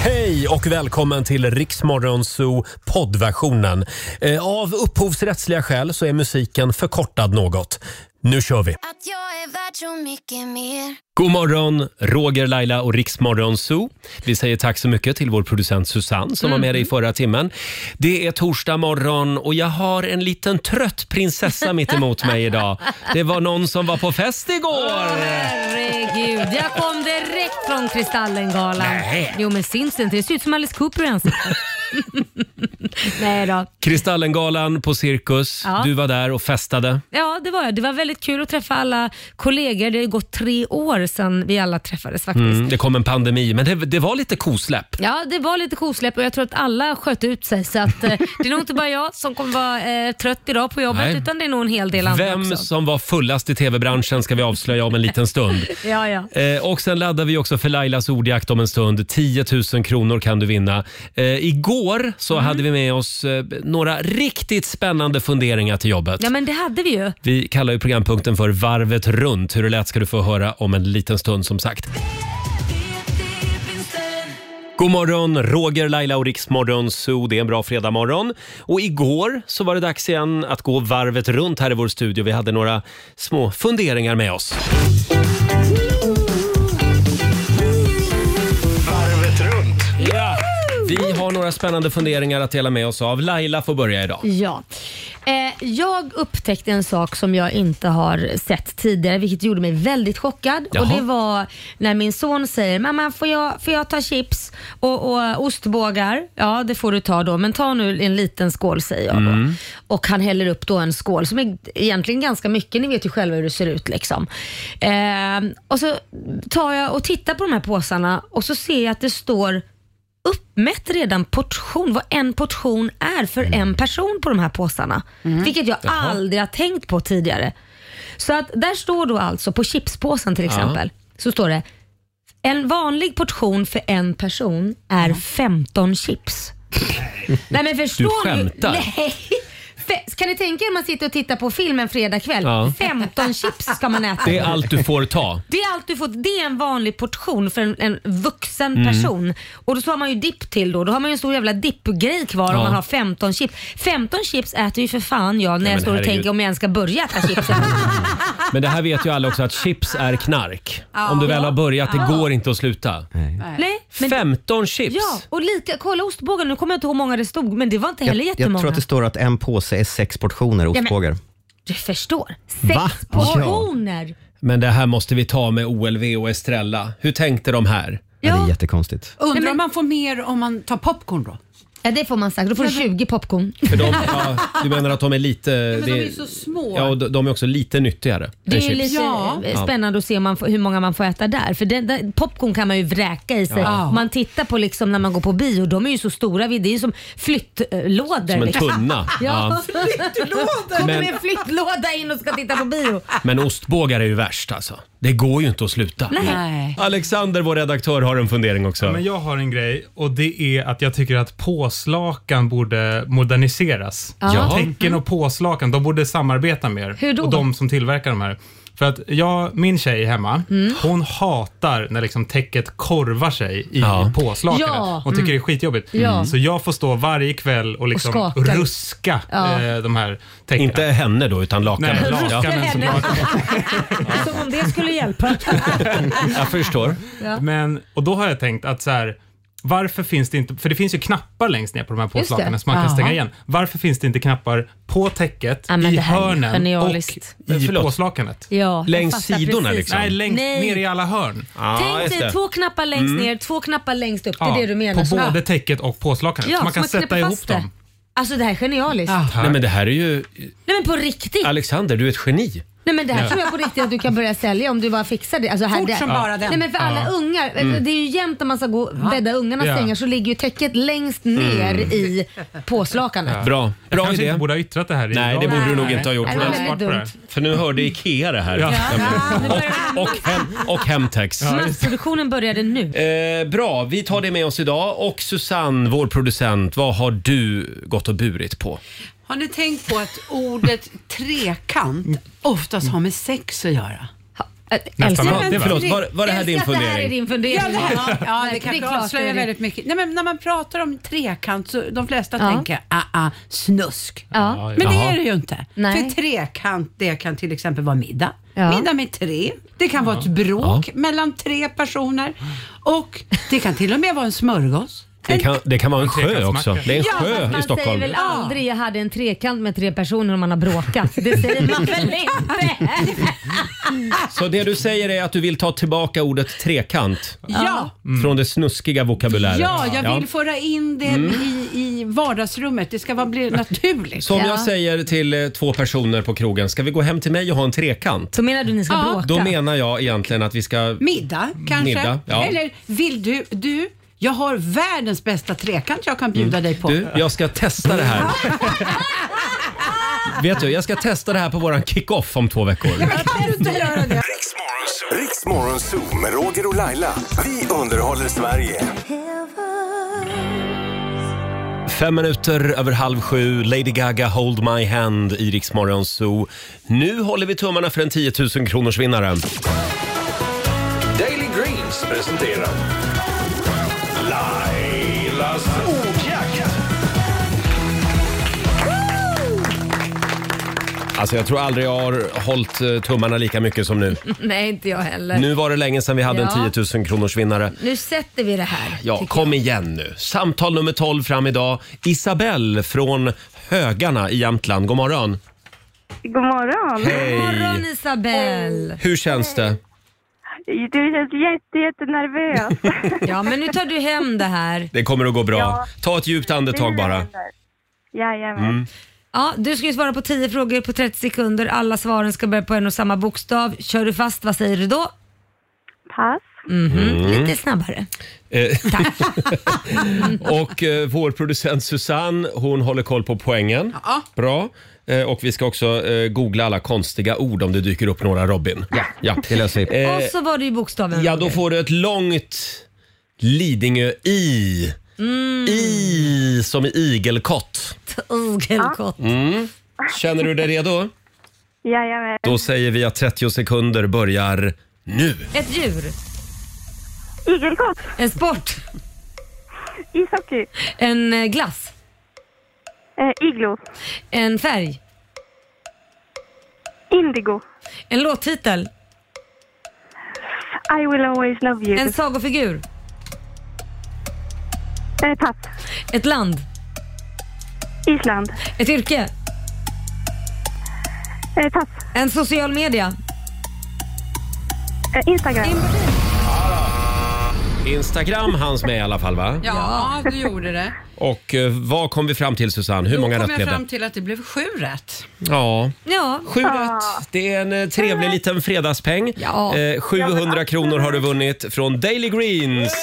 Hej och välkommen till Riksmorgonzoo poddversionen. Eh, Av upphovsrättsliga skäl så är musiken förkortad något. Nu kör vi! Att jag är värd så mycket mer God morgon, Roger, Laila och Riksmorgonzoo. Vi säger tack så mycket till vår producent Susanne som var med dig i Mm. förra timmen. Det är torsdag morgon och jag har en liten trött prinsessa mitt emot mig idag. Det var någon som var på fest igår. Herregud, jag kom direkt från Kristallengalan. Nej. Jo men syns det inte? Det ser ut som Alice Cooper i ansiktet. Nej då. Kristallengalan på Cirkus. Ja. Du var där och festade. Ja, det var jag. Det var väldigt kul att träffa alla kollegor. Det har ju gått tre år sedan vi alla träffades faktiskt. Mm, det kom en pandemi, men det, det var lite kosläpp. Ja, det var lite kosläpp och jag tror att alla sköt ut sig. Så att, eh, det är nog inte bara jag som kommer vara eh, trött idag på jobbet Nej. utan det är nog en hel del andra Vem också. som var fullast i tv-branschen ska vi avslöja om en liten stund. Ja, ja. Eh, och sen laddar vi också för Lailas ordjakt om en stund. 10 000 kronor kan du vinna. Eh, igår så Mm. hade vi med oss eh, några riktigt spännande funderingar till jobbet. ja, men det hade vi ju. Vi kallar ju programpunkten för Varvet runt. Hur det lät ska du få höra om en liten stund som sagt. God morgon, Roger, Laila och Riksmorgon Zoo. Det är en bra fredagmorgon. Och igår så var det dags igen att gå varvet runt här i vår studio. Vi hade några små funderingar med oss. Varvet runt. Vi har några spännande funderingar att dela med oss av. Laila får börja idag. Ja. Eh, jag upptäckte en sak som jag inte har sett tidigare vilket gjorde mig väldigt chockad. Jaha. Och Det var när min son säger “Mamma, får jag, får jag ta chips och, och ostbågar?” Ja, det får du ta då, men ta nu en liten skål säger jag då. Mm. Och han häller upp då en skål som är egentligen ganska mycket, ni vet ju själva hur det ser ut liksom. Eh, och så tar jag och tittar på de här påsarna och så ser jag att det står uppmätt redan portion, vad en portion är för en person på de här påsarna. Vilket jag aldrig har tänkt på tidigare. Så att där står då alltså på chipspåsen till exempel, så står det en vanlig portion för en person är 15 chips. Nej men förstår ni? skämtar. Nej. Fe- Kan ni tänka er man sitter och tittar på film en fredagkväll? Ja. 15 chips ska man äta. Det är allt du får ta. Det är allt du fått. Det är en vanlig portion för en, en vuxen Mm. person. Och då så har man ju dipp till då. Då har man ju en stor jävla dippgrej kvar Ja. om man har 15 chips. 15 chips äter ju för fan jag när men jag står och herregud. tänker om jag ens ska börja äta chips. Men det här vet ju alla också att chips är knark. Ja. Om du väl har börjat, det går inte att sluta. Nej, men 15 chips! Ja, och lika, kolla ostbågarna. Nu kommer jag inte ihåg hur många det stod, men det var inte Jag, heller jag jättemånga. tror att det står att en påse är sex portioner men- ostbågar. Du förstår. Sex Va? portioner! Men det här måste vi ta med OLV och Estrella. Hur tänkte de här? Ja. Det är Ja, jättekonstigt. Undrar Nej, men- om man får mer om man tar popcorn då? ja, det får man säkert. Då får du 20 popcorn. För de, ja, du menar att de är lite... Ja, Men de är ju så små. Ja, och de de är också lite nyttigare. Det än är ju chips. lite Ja. eh, spännande att se om man får, hur många man får äta där. För den, den, popcorn kan man ju vräka i sig. Ja. Man tittar på liksom när man går på bio, de är ju så stora. Det är ju som flyttlådor. Som en liksom. tunna. Ja. Ja. Kommer Men- med en flyttlåda in och ska titta på bio. Men ostbågar är ju värst alltså. Det går ju inte att sluta. Nej. Alexander, vår redaktör, har en fundering också. Men jag har en grej och det är att jag tycker att påslakan borde moderniseras. Jaha. Mm. Tecken och påslakan, de borde samarbeta mer. Hur då? Och de som tillverkar de här. För att jag, min tjej hemma, Mm. hon hatar när liksom täcket korvar sig i Ja. påslakanet. Ja. Mm. Hon tycker det är skitjobbigt. Mm. Ja. Så jag får stå varje kväll och liksom skaka. ruska Ja. eh, de här täckena. Inte henne då, utan lakanet. Nej, Ja, lakanen som henne. jag Som om det skulle hjälpa. jag förstår. Men, och då har jag tänkt att så här, varför finns det inte, för det finns ju knappar längst ner på de här det. påslakanen som man kan Jaha. stänga igen. Varför finns det inte knappar på täcket, Ja, men i det här är hörnen och genialiskt. i Förlåt. påslakanet? Ja, jag Längs fattar sidorna, precis. liksom. Nej, längst Nej. ner i alla hörn. Ja, Tänk just dig det. Mm. två knappar längst ner, två knappar längst upp. Det är Ja, det du menar. På Så- både täcket och påslakanet. Ja, så man så kan knäpper sätta ihop fast det. dem. Alltså det här är genialiskt. Nej, men det här är ju... Nej men på riktigt. Alexander, du är ett geni. Nej men det här tror jag på riktigt att du kan börja sälja om du bara fixar det. Alltså, här, Fort det. som bara den. Nej men för alla ungar, Mm. det är ju jämt när man ska gå och bädda ungarnas Ja. sängar så ligger ju täcket längst ner i påslakanet. Mm. Bra, Jag bra kanske idé. inte borde ha yttrat det här. i Nej, det radio. borde du nog inte ha gjort. Nej, Jag det är var Men, smart väldigt på det. dumt. för nu hörde Ikea det här. Ja. Ja, nu börjar Och, och, hem, och Hemtex. Massproduktionen började nu. Eh, bra, vi tar det med oss idag. Och Susanne, vår producent, vad har du gått och burit på? Har ni tänkt på att ordet trekant oftast har med sex att göra? Äh, Elsa, alltid, men- va? Förlåt, var, var det här Älskar din att Det här är fundering? din fundering. Ja, det, här, ja, det är kanske klart det avslöjar är det. väldigt mycket. Nej, men när man pratar om trekant så de flesta Ja. tänker ah, ah, snusk. Ja. Men det Jaha. är det ju inte. Nej. För trekant det kan till exempel vara middag. Ja. Middag med tre. Det kan vara ett bråk mellan tre personer. Och det kan till och med vara en smörgås. Det kan, det kan vara en sjö också. Det är en Ja, fast sjö Man i säger Stockholm. väl aldrig jag hade en trekant med tre personer om man har bråkat. Det säger man väl inte? Så det du säger är att du vill ta tillbaka ordet trekant Ja, Mm. från det snuskiga vokabuläret? ja jag vill föra in det Mm. i, i vardagsrummet. Det ska vara, bli naturligt. Så om Ja. jag säger till eh, två personer på krogen, ska vi gå hem till mig och ha en trekant? Så menar du ni ska Ja. bråka? Då menar jag egentligen att vi ska... Middag kanske? Middag, ja. Eller vill du, du, jag har världens bästa trekant jag kan bjuda dig på. Mm. Du, jag ska testa det här. Vet du, jag ska testa det här på våran kick-off om två veckor. Kan du inte göra det? Riksmorgon Zoo med Roger och Laila. Vi underhåller Sverige. Fem minuter över halv sju, Lady Gaga Hold My Hand i Rix Morgon Zoo. Nu håller vi tummarna för en 10 000 kronors vinnare. Daily Greens presenterar Lailas ordjakt. Alltså jag tror aldrig jag har hållit eh, tummarna lika mycket som nu. Nej, inte jag heller. Nu, Nu var det länge sedan vi hade en Mm. Ja. 10 000 kronors vinnare. sätter vi det här. Ja, tycker kom igen nu. Samtal nummer 12 fram idag. Isabelle från Högarna i Jämtland. God morgon. God morgon! jag. God morgon Isabelle! Hur känns det? Du känns jätte, jättenervös. Ja, men nu tar du hem det här. Det kommer att gå bra. Ta ett djupt andetag bara. Mm. Mm. Jajamän. Ja, du ska ju svara på 10 frågor på 30 sekunder. Alla svaren ska börja på en och samma bokstav. Kör du fast, vad säger du då? Mhm. Pass. Mm. Lite snabbare. Eh, och eh, vår producent Susanne, hon håller koll på poängen. Ja. Bra. Eh, och vi ska också eh, googla alla konstiga ord om det dyker upp några Robin. Ja, Det löser vi. Eh, Och så var det ju bokstaven. ja då får du ett långt Lidingö-i. Mm. I som i igelkott. Igelkott. Känner du dig redo? Jajamän. Då säger vi att 30 sekunder börjar nu. Ett djur. Igelkott. En sport. Ishockey. En eh, glass. Eh, iglo. En färg. Indigo. En låttitel. I will always love you. En sagofigur. Eh, pass. Ett land. Island. Ett yrke. Eh, pass. En social media. Eh, Instagram. Instagram hans med i alla fall va? Ja, du gjorde det. Och eh, vad kom vi fram till Susanne? Hur många Då kom rätt jag blev fram det? till att det blev sju rätt. Ja, Ja, Sju rätt. Det är en eh, trevlig liten fredagspeng. Ja. Eh, 700 kronor har du vunnit från Daily Greens.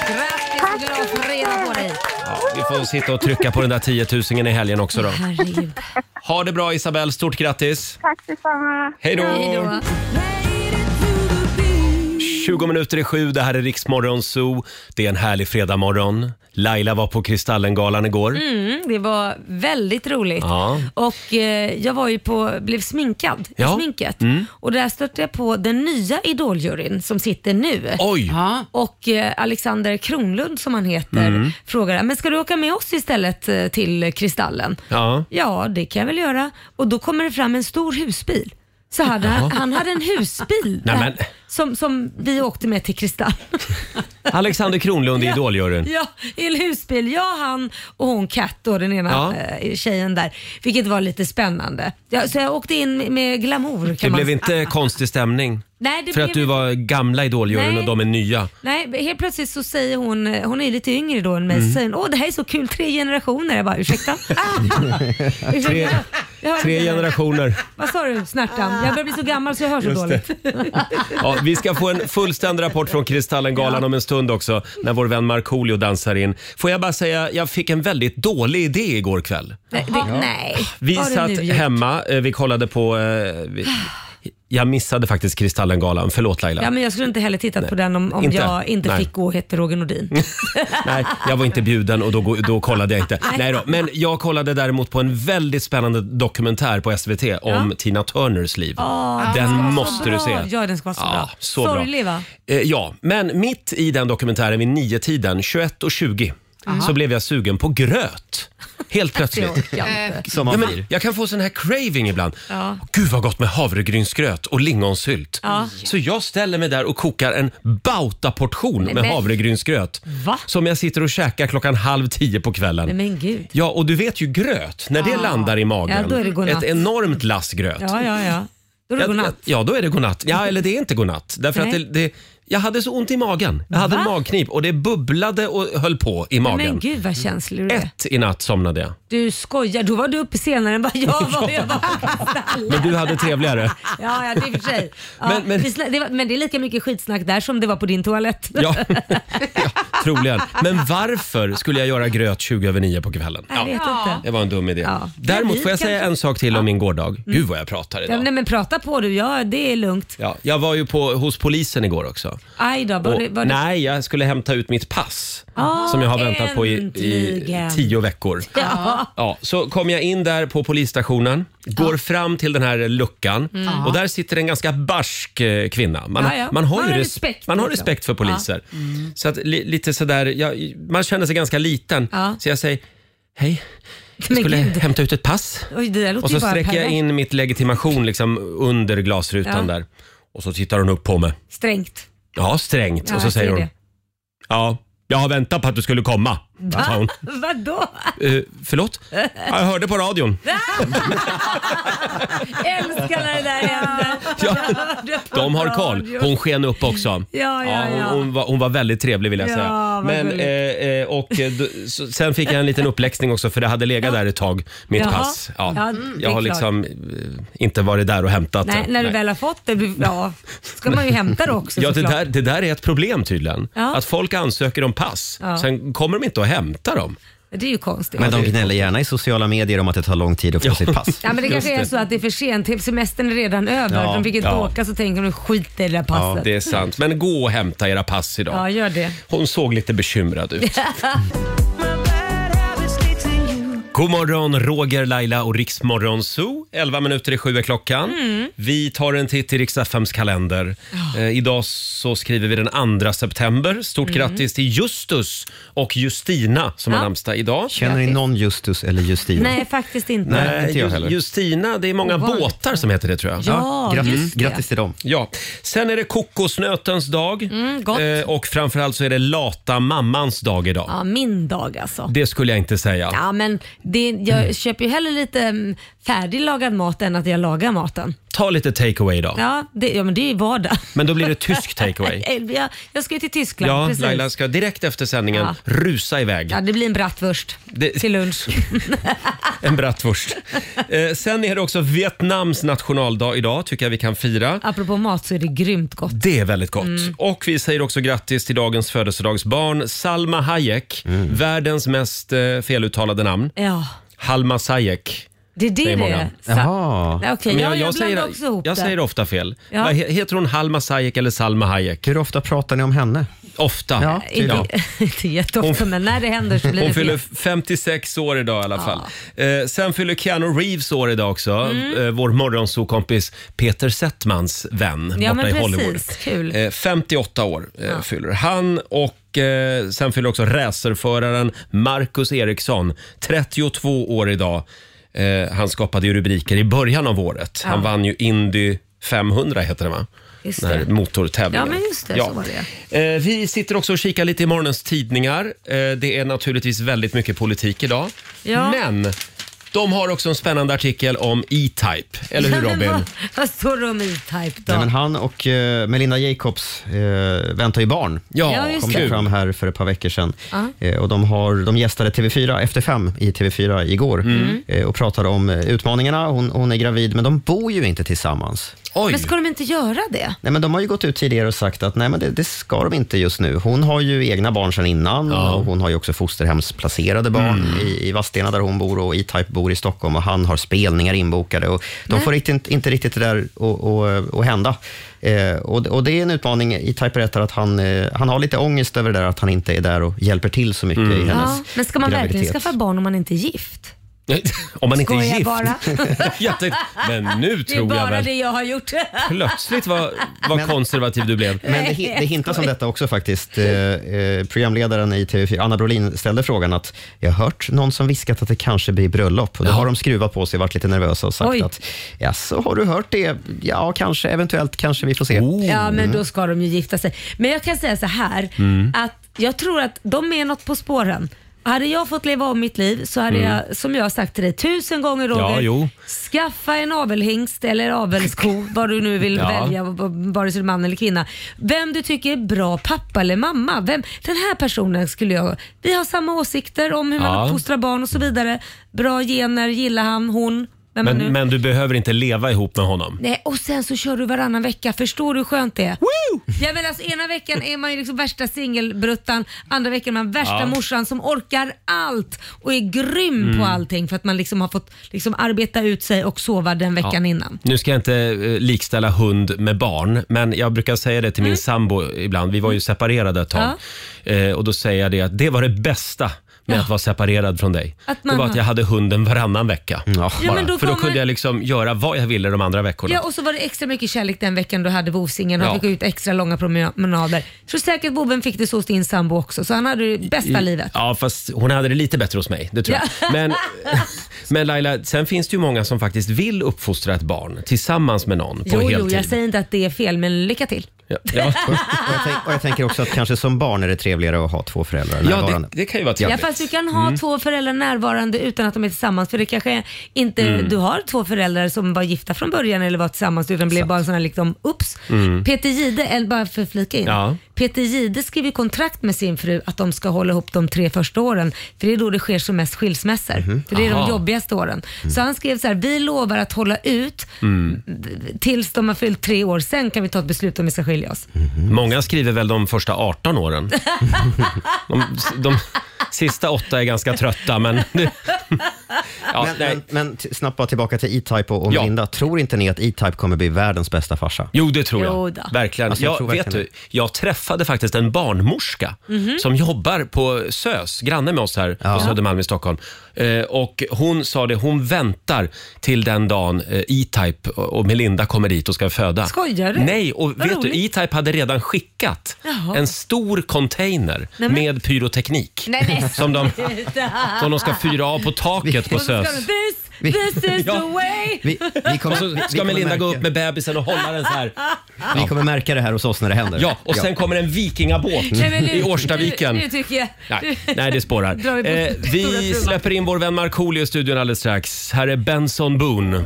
grattis och glad fredag på dig. Ja, vi får sitta och trycka på den där 10 000 i helgen också då. Herregud. Ha det bra Isabelle, stort grattis. Tack detsamma. Hej då! Hej då. Mm. 20 minuter i sju, det här är Riksmorgon Zoo. Det är en härlig fredagmorgon. Laila var på Kristallengalan igår. Mm, det var väldigt roligt. Ja. Och eh, jag var ju på, blev sminkad Ja. Mm. i sminket. Och där stötte jag på den nya idoljuryn som sitter nu. Oj! Ja. Och eh, Alexander Kronlund som han heter Mm. frågade, men ska du åka med oss istället eh, till Kristallen? Ja. Ja, det kan jag väl göra. Och då kommer det fram en stor husbil. Så hade han, han hade en husbil Nej, där, men- som, som vi åkte med till Kristall. Alexander Kronlund i Idoljuryn. ja, i en husbil. Jag, han och hon Kat då, den ena Ja. eh, tjejen där. Vilket var lite spännande. Ja, så jag åkte in med- med glamour kan Det man blev säga. inte konstig stämning. Nej, det För blev att du var gamla Idoljuryn Nej. och de är nya. Nej, helt plötsligt så säger hon, eh, hon är ju lite yngre då än mig, Mm. så säger hon, åh det här är så kul, tre generationer. Jag bara, ursäkta? Ah! Ursäkta, Tre- jag hörde Tre inte. generationer. Vad sa du, snärtan? Jag börjar bli så gammal så jag hör så dåligt. Ja, vi ska få en fullständig rapport från Kristallengalan om en stund också när vår vän Markoolio dansar in. Får jag bara säga, jag fick en väldigt dålig idé igår kväll. Nej, det, nej. Vi Vad har du satt nu gjort? hemma, eh, vi kollade på eh, vi- jag missade faktiskt Kristallengalan. Förlåt Laila. Ja, men jag skulle inte heller tittat på den om, om Inte? jag inte Nej. fick gå och hette Roger Nordin. Nej, jag var inte bjuden och då, gå- då kollade jag inte. Nej då. Men jag kollade däremot på en väldigt spännande dokumentär på SVT om Tina Turners liv. den måste du se. Ja, Ah, den ska vara så bra. så Sorglig bra. va? Eh, ja, men mitt i den dokumentären vid nio tiden 21.20, så blev jag sugen på gröt. Helt plötsligt. Det orkar jag inte. Eh, Som Ja, man men blir. jag kan få sån här craving ibland. Gud vad gott med havregrynsgröt och lingonsylt. Så jag ställer mig där och kokar en bautaportion med men- havregrynsgröt. Va? Som jag sitter och käkar klockan halv tio på Nej, kvällen. men gud. Ja, och du vet ju gröt, när det landar i magen. Ja, då är det godnatt. ett enormt lass gröt. Ja, ja, ja. Då är det Ja, godnatt. Ja, ja, då är det godnatt. Ja, eller det är inte godnatt. Därför att Nej. det, det, jag hade så ont i magen. Jag hade Va? magknip och det bubblade och höll på i magen. Men gud vad känslig du är. Ett i natt somnade jag. Du skojar, då var du uppe senare än vad jag var. Jag var på Kristallen. Men du hade trevligare. Ja, ja, det är i och för sig. Ja, Men- men, men- men, det var, men det är lika mycket skitsnack där som det var på din toalett. Ja, ja troligen. Men varför skulle jag göra gröt 20 över 9 på kvällen? Jag vet inte. Det var en dum idé. Ja. Däremot Ja, får jag vi säga kanske- en sak till om min gårdag. Gud vad jag pratar Ja, idag. nej, men prata på du, ja, det är lugnt. Ja, jag var ju på, hos polisen igår också. Aj då, var Och, det, var det... nej, jag skulle hämta ut mitt pass Ah, som jag har väntat på i, i äntligen. tio veckor. Ja. Ja, så kom jag in där på polisstationen, går fram till den här luckan och där sitter en ganska barsk eh, kvinna. Man, Mm. Ja, ja. man har Man ju har res- respekt, Mm. man har liksom. respekt för poliser. Så att, li, lite sådär, ja, man känner sig ganska liten. Ja. Så jag säger, hej, jag Men skulle gud. hämta ut ett pass. Oj, det där låter Och så ju bara sträcker jag perverst. in mitt legitimation liksom under glasrutan Ja. där. Och så tittar hon upp på mig. Strängt. Ja, strängt. Ja, och så jag säger ser hon, det. ja, jag har väntat på att du skulle komma. sa hon. Vadå? Eh, förlåt? Ja, Jag hörde på radion. Älskar när det där händer. Ja. Hörde på De har koll. radio. Hon sken upp också. Ja, ja, hon, ja. Hon, var, hon var väldigt trevlig vill jag Ja, säga. vad Men, eh, eh, och, eh, d- så, sen fick jag en liten uppläxning också för det hade legat där ett tag, mitt Jaha. pass. Ja. Ja, det är jag har klart. liksom eh, inte varit där och hämtat Nej, det. när du väl har fått det, du- ja, ska man ju hämta det också Ja, det såklart. där, det där är ett problem tydligen. Ja. Att folk ansöker om pass, Ja. sen kommer de inte och hämtar dem. Det är ju konstigt. Men de gnäller gärna i sociala medier om att det tar lång tid att få sitt pass. Ja, men det kanske Just är det. så att det är för sent. Semestern är redan över. Ja, de fick inte ja. åka så tänker de skit i det där passet. Det är sant. Men gå och hämta era pass idag. Ja, gör det. Hon såg lite bekymrad ut. God morgon, Roger, Laila och Riksmorgon Zoo. 11 minuter i sju är klockan. Mm. Vi tar en titt i Riks-FMs kalender. Eh, idag så skriver vi den 2 september. Stort grattis till Justus och Justina som har Mm. Ja. namnsdag idag. Känner ni någon Justus eller Justina? Nej, faktiskt inte. Nej, inte jag Ju- heller. Justina, det är många Ovanligt. båtar som heter det tror jag. Ja, grattis, just det. grattis till dem. Ja. Sen är det kokosnötens dag Mm, gott. Eh, och framförallt så är det lata mammans dag idag. Ja, min dag alltså. Det skulle jag inte säga. Ja, men det, jag köper ju hellre lite mm, färdiglagad mat än att jag lagar maten. Ta lite takeaway idag. Ja, det, ja men det är ju vardag. Men då blir det tysk takeaway. Jag, jag ska ju till Tyskland, Ja, precis. Laila ska direkt efter sändningen Ja. rusa iväg. Ja, det blir en bratwurst Det- till lunch. Ah. En bratwurst. eh, sen är det också Vietnams nationaldag idag, tycker jag vi kan fira. Apropå mat så är det grymt gott. Mm. Det är väldigt gott. Och vi säger också grattis till dagens födelsedagsbarn Salma Hayek. Mm. Världens mest eh, feluttalade namn. Ja, Halma Sayek. det är det det Säger många. är. Sa- Jaha. Nej, Okej, Men jag, jag, blandar säger, också ihop jag det. säger ofta fel. Ja. Vad he- Heter hon Halma Sayek eller Salma Hayek? Hur ofta pratar ni om henne? Ofta. Ja, Inte, Ja. inte jätteofta, men när det händer så blir Hon det fyller fel. 56 år idag i alla fall. Eh, sen fyller Keanu Reeves år idag också. Mm. Eh, vår morgonsokompis Peter Settmans vän Ja, borta men i precis. Hollywood. Kul. Eh, 58 år eh, fyller han och eh, sen fyller också racerföraren Marcus Eriksson 32 år idag. Eh, han skapade ju rubriker i början av året. Han vann ju Indy 500 heter det va? Just Den här det. motortävlingen. Ja, men just det, så var det. Eh, Vi sitter också och kikar lite i morgonens tidningar. Eh, Det är naturligtvis väldigt mycket politik idag. Ja. Men de har också en spännande artikel om E-Type. Eller hur Ja, men Robin? Vad, vad står det om E-Type då? Nej, men han och eh, Melinda Jacobs eh, väntar ju barn. Ja, just Kom det. det fram här för ett par veckor sedan. Eh, och de, har, de gästade TV4 efter fem i TV4 Mm. igår eh, och pratade om eh, utmaningarna. Hon, hon är gravid, men de bor ju inte tillsammans. Oj. Men ska de inte göra det? Nej, men de har ju gått ut tidigare och sagt att nej, men det, det ska de inte just nu. Hon har ju egna barn sedan innan och hon har ju också fosterhemsplacerade barn Mm. i, i Vadstena där hon bor och E-Type bor i Stockholm och han har spelningar inbokade. Och de får riktigt, inte riktigt det där att- att- att hända. Eh, och, och det är en utmaning. E-Type berättar att han, eh, han har lite ångest över det där att han inte är där och hjälper till så mycket Mm. i hennes Ja. Men ska man verkligen graviditet. skaffa barn om man inte är gift? Nej, Om man inte är Skojar gift. bara. Jag tänkte, men nu Det är tror jag bara det väl. jag har gjort. Plötsligt vad, vad konservativ du blev. Men det, hi- det hintas om detta också faktiskt. Eh, eh, programledaren i TV4, Anna Brolin, ställde frågan att jag har hört någon som viskat att det kanske blir bröllop. Och då har de skruvat på sig, varit lite nervösa och sagt Oj. att ja, så har du hört det? Ja, kanske, eventuellt, kanske vi får se. Oh. Mm. Ja, Mm. men då ska de ju gifta sig. Men jag kan säga så här att jag tror att de är något på spåren. Hade jag fått leva om mitt liv så hade jag, som jag har sagt till dig tusen gånger Roger, Mm. Ja, jo. skaffa en avelhingst eller avelsko, vad du nu vill Ja. välja, v- v- vare sig man eller kvinna. Vem du tycker är bra pappa eller mamma. Vem, den här personen skulle jag... Vi har samma åsikter om hur Ja. man uppfostrar barn och så vidare. Bra gener, gillar han, hon. Vem är nu? Men, men du behöver inte leva ihop med honom. Nej, och sen så kör du varannan vecka. Förstår du hur skönt det är? Woo! Jag menar, alltså, ena veckan är man ju liksom värsta singelbruttan, andra veckan är man värsta Ja. Mm. morsan som orkar allt och är grym på allting för att man liksom har fått liksom arbeta ut sig och sova den veckan innan. Nu ska jag inte eh, likställa hund med barn, men jag brukar säga det till Mm. min sambo ibland. Vi var ju separerade ett tag. Eh, och då säger jag det att det var det bästa med att vara separerad från dig. Att det man var att har- jag hade hunden varannan vecka. Ja. Ja, men Bara. då För då får man- kunde jag liksom göra vad jag ville de andra veckorna. Ja, och så var det extra mycket kärlek den veckan du hade vovsingen och Ja. fick gå ut extra långa promenader. Så säkert boven fick det så hos din sambo också, så han hade det bästa livet. Ja, fast hon hade det lite bättre hos mig. Det tror jag. Men, men Laila, sen finns det ju många som faktiskt vill uppfostra ett barn tillsammans med någon på Jo, heltid. jo, jag säger inte att det är fel, men lycka till. Ja, ja. Och jag, tänk, och jag tänker också att kanske som barn är det trevligare att Mm. ha två föräldrar ja det, närvarande. det kan ju vara Ja, trevligt. fast du kan Mm. ha två föräldrar närvarande utan att de är tillsammans. För det kanske inte, Mm. du har två föräldrar som var gifta från början eller var tillsammans utan blev bara sådana liksom, ups. Peter Jihde, eller bara för att flika in. Mm. Ja. Peter Jihde skrev ju kontrakt med sin fru att de ska hålla ihop de tre första åren. För det är då det sker som mest skilsmässor. För det är Mhm. Aha. Mm. de jobbigaste åren. Så han skrev så här, vi lovar att hålla ut tills de har fyllt tre år. Sen kan vi ta ett beslut om vi ska skilja oss. Mm. Många skriver väl de första 18 åren. De, de sista åtta är ganska trötta, men... Ja, Men, nej. men, men t- snabbt bara tillbaka till E-Type och, och Ja. Linda. Tror inte ni att E-Type kommer bli världens bästa farsa? Jo, det tror jag. Jo då. Verkligen. Alltså, jag jag, tror vet verkligen du, jag träffade faktiskt en barnmorska Mhm. som jobbar på SÖS, granne med oss här på Södermalm i Stockholm. Eh, och hon sa det, hon väntar till den dagen eh, E-Type och Melinda kommer dit och ska föda. Skojar du? Nej, och Vad vet du, roligt. E-Type hade redan skickat Jaha. en stor container men- med pyroteknik. Nej, nej. Som de, som de ska fyra av på taket på Och så ska SÖS. de, This, this is Ja. the way. Vi, vi kommer, Och så vi- vi ska kommer Melinda gå märka- upp med bebisen och hålla den så här. Vi kommer märka det här hos oss när det händer. Ja, och sen kommer en vikingabåt Nej, men nu- i Årstaviken. Nu, nu tycker jag... Nej, nej, det spårar. Drar vi på Eh, stora vi trumman. släpper in vår vän Markoolio i studion alldeles strax. Här är Benson Boone.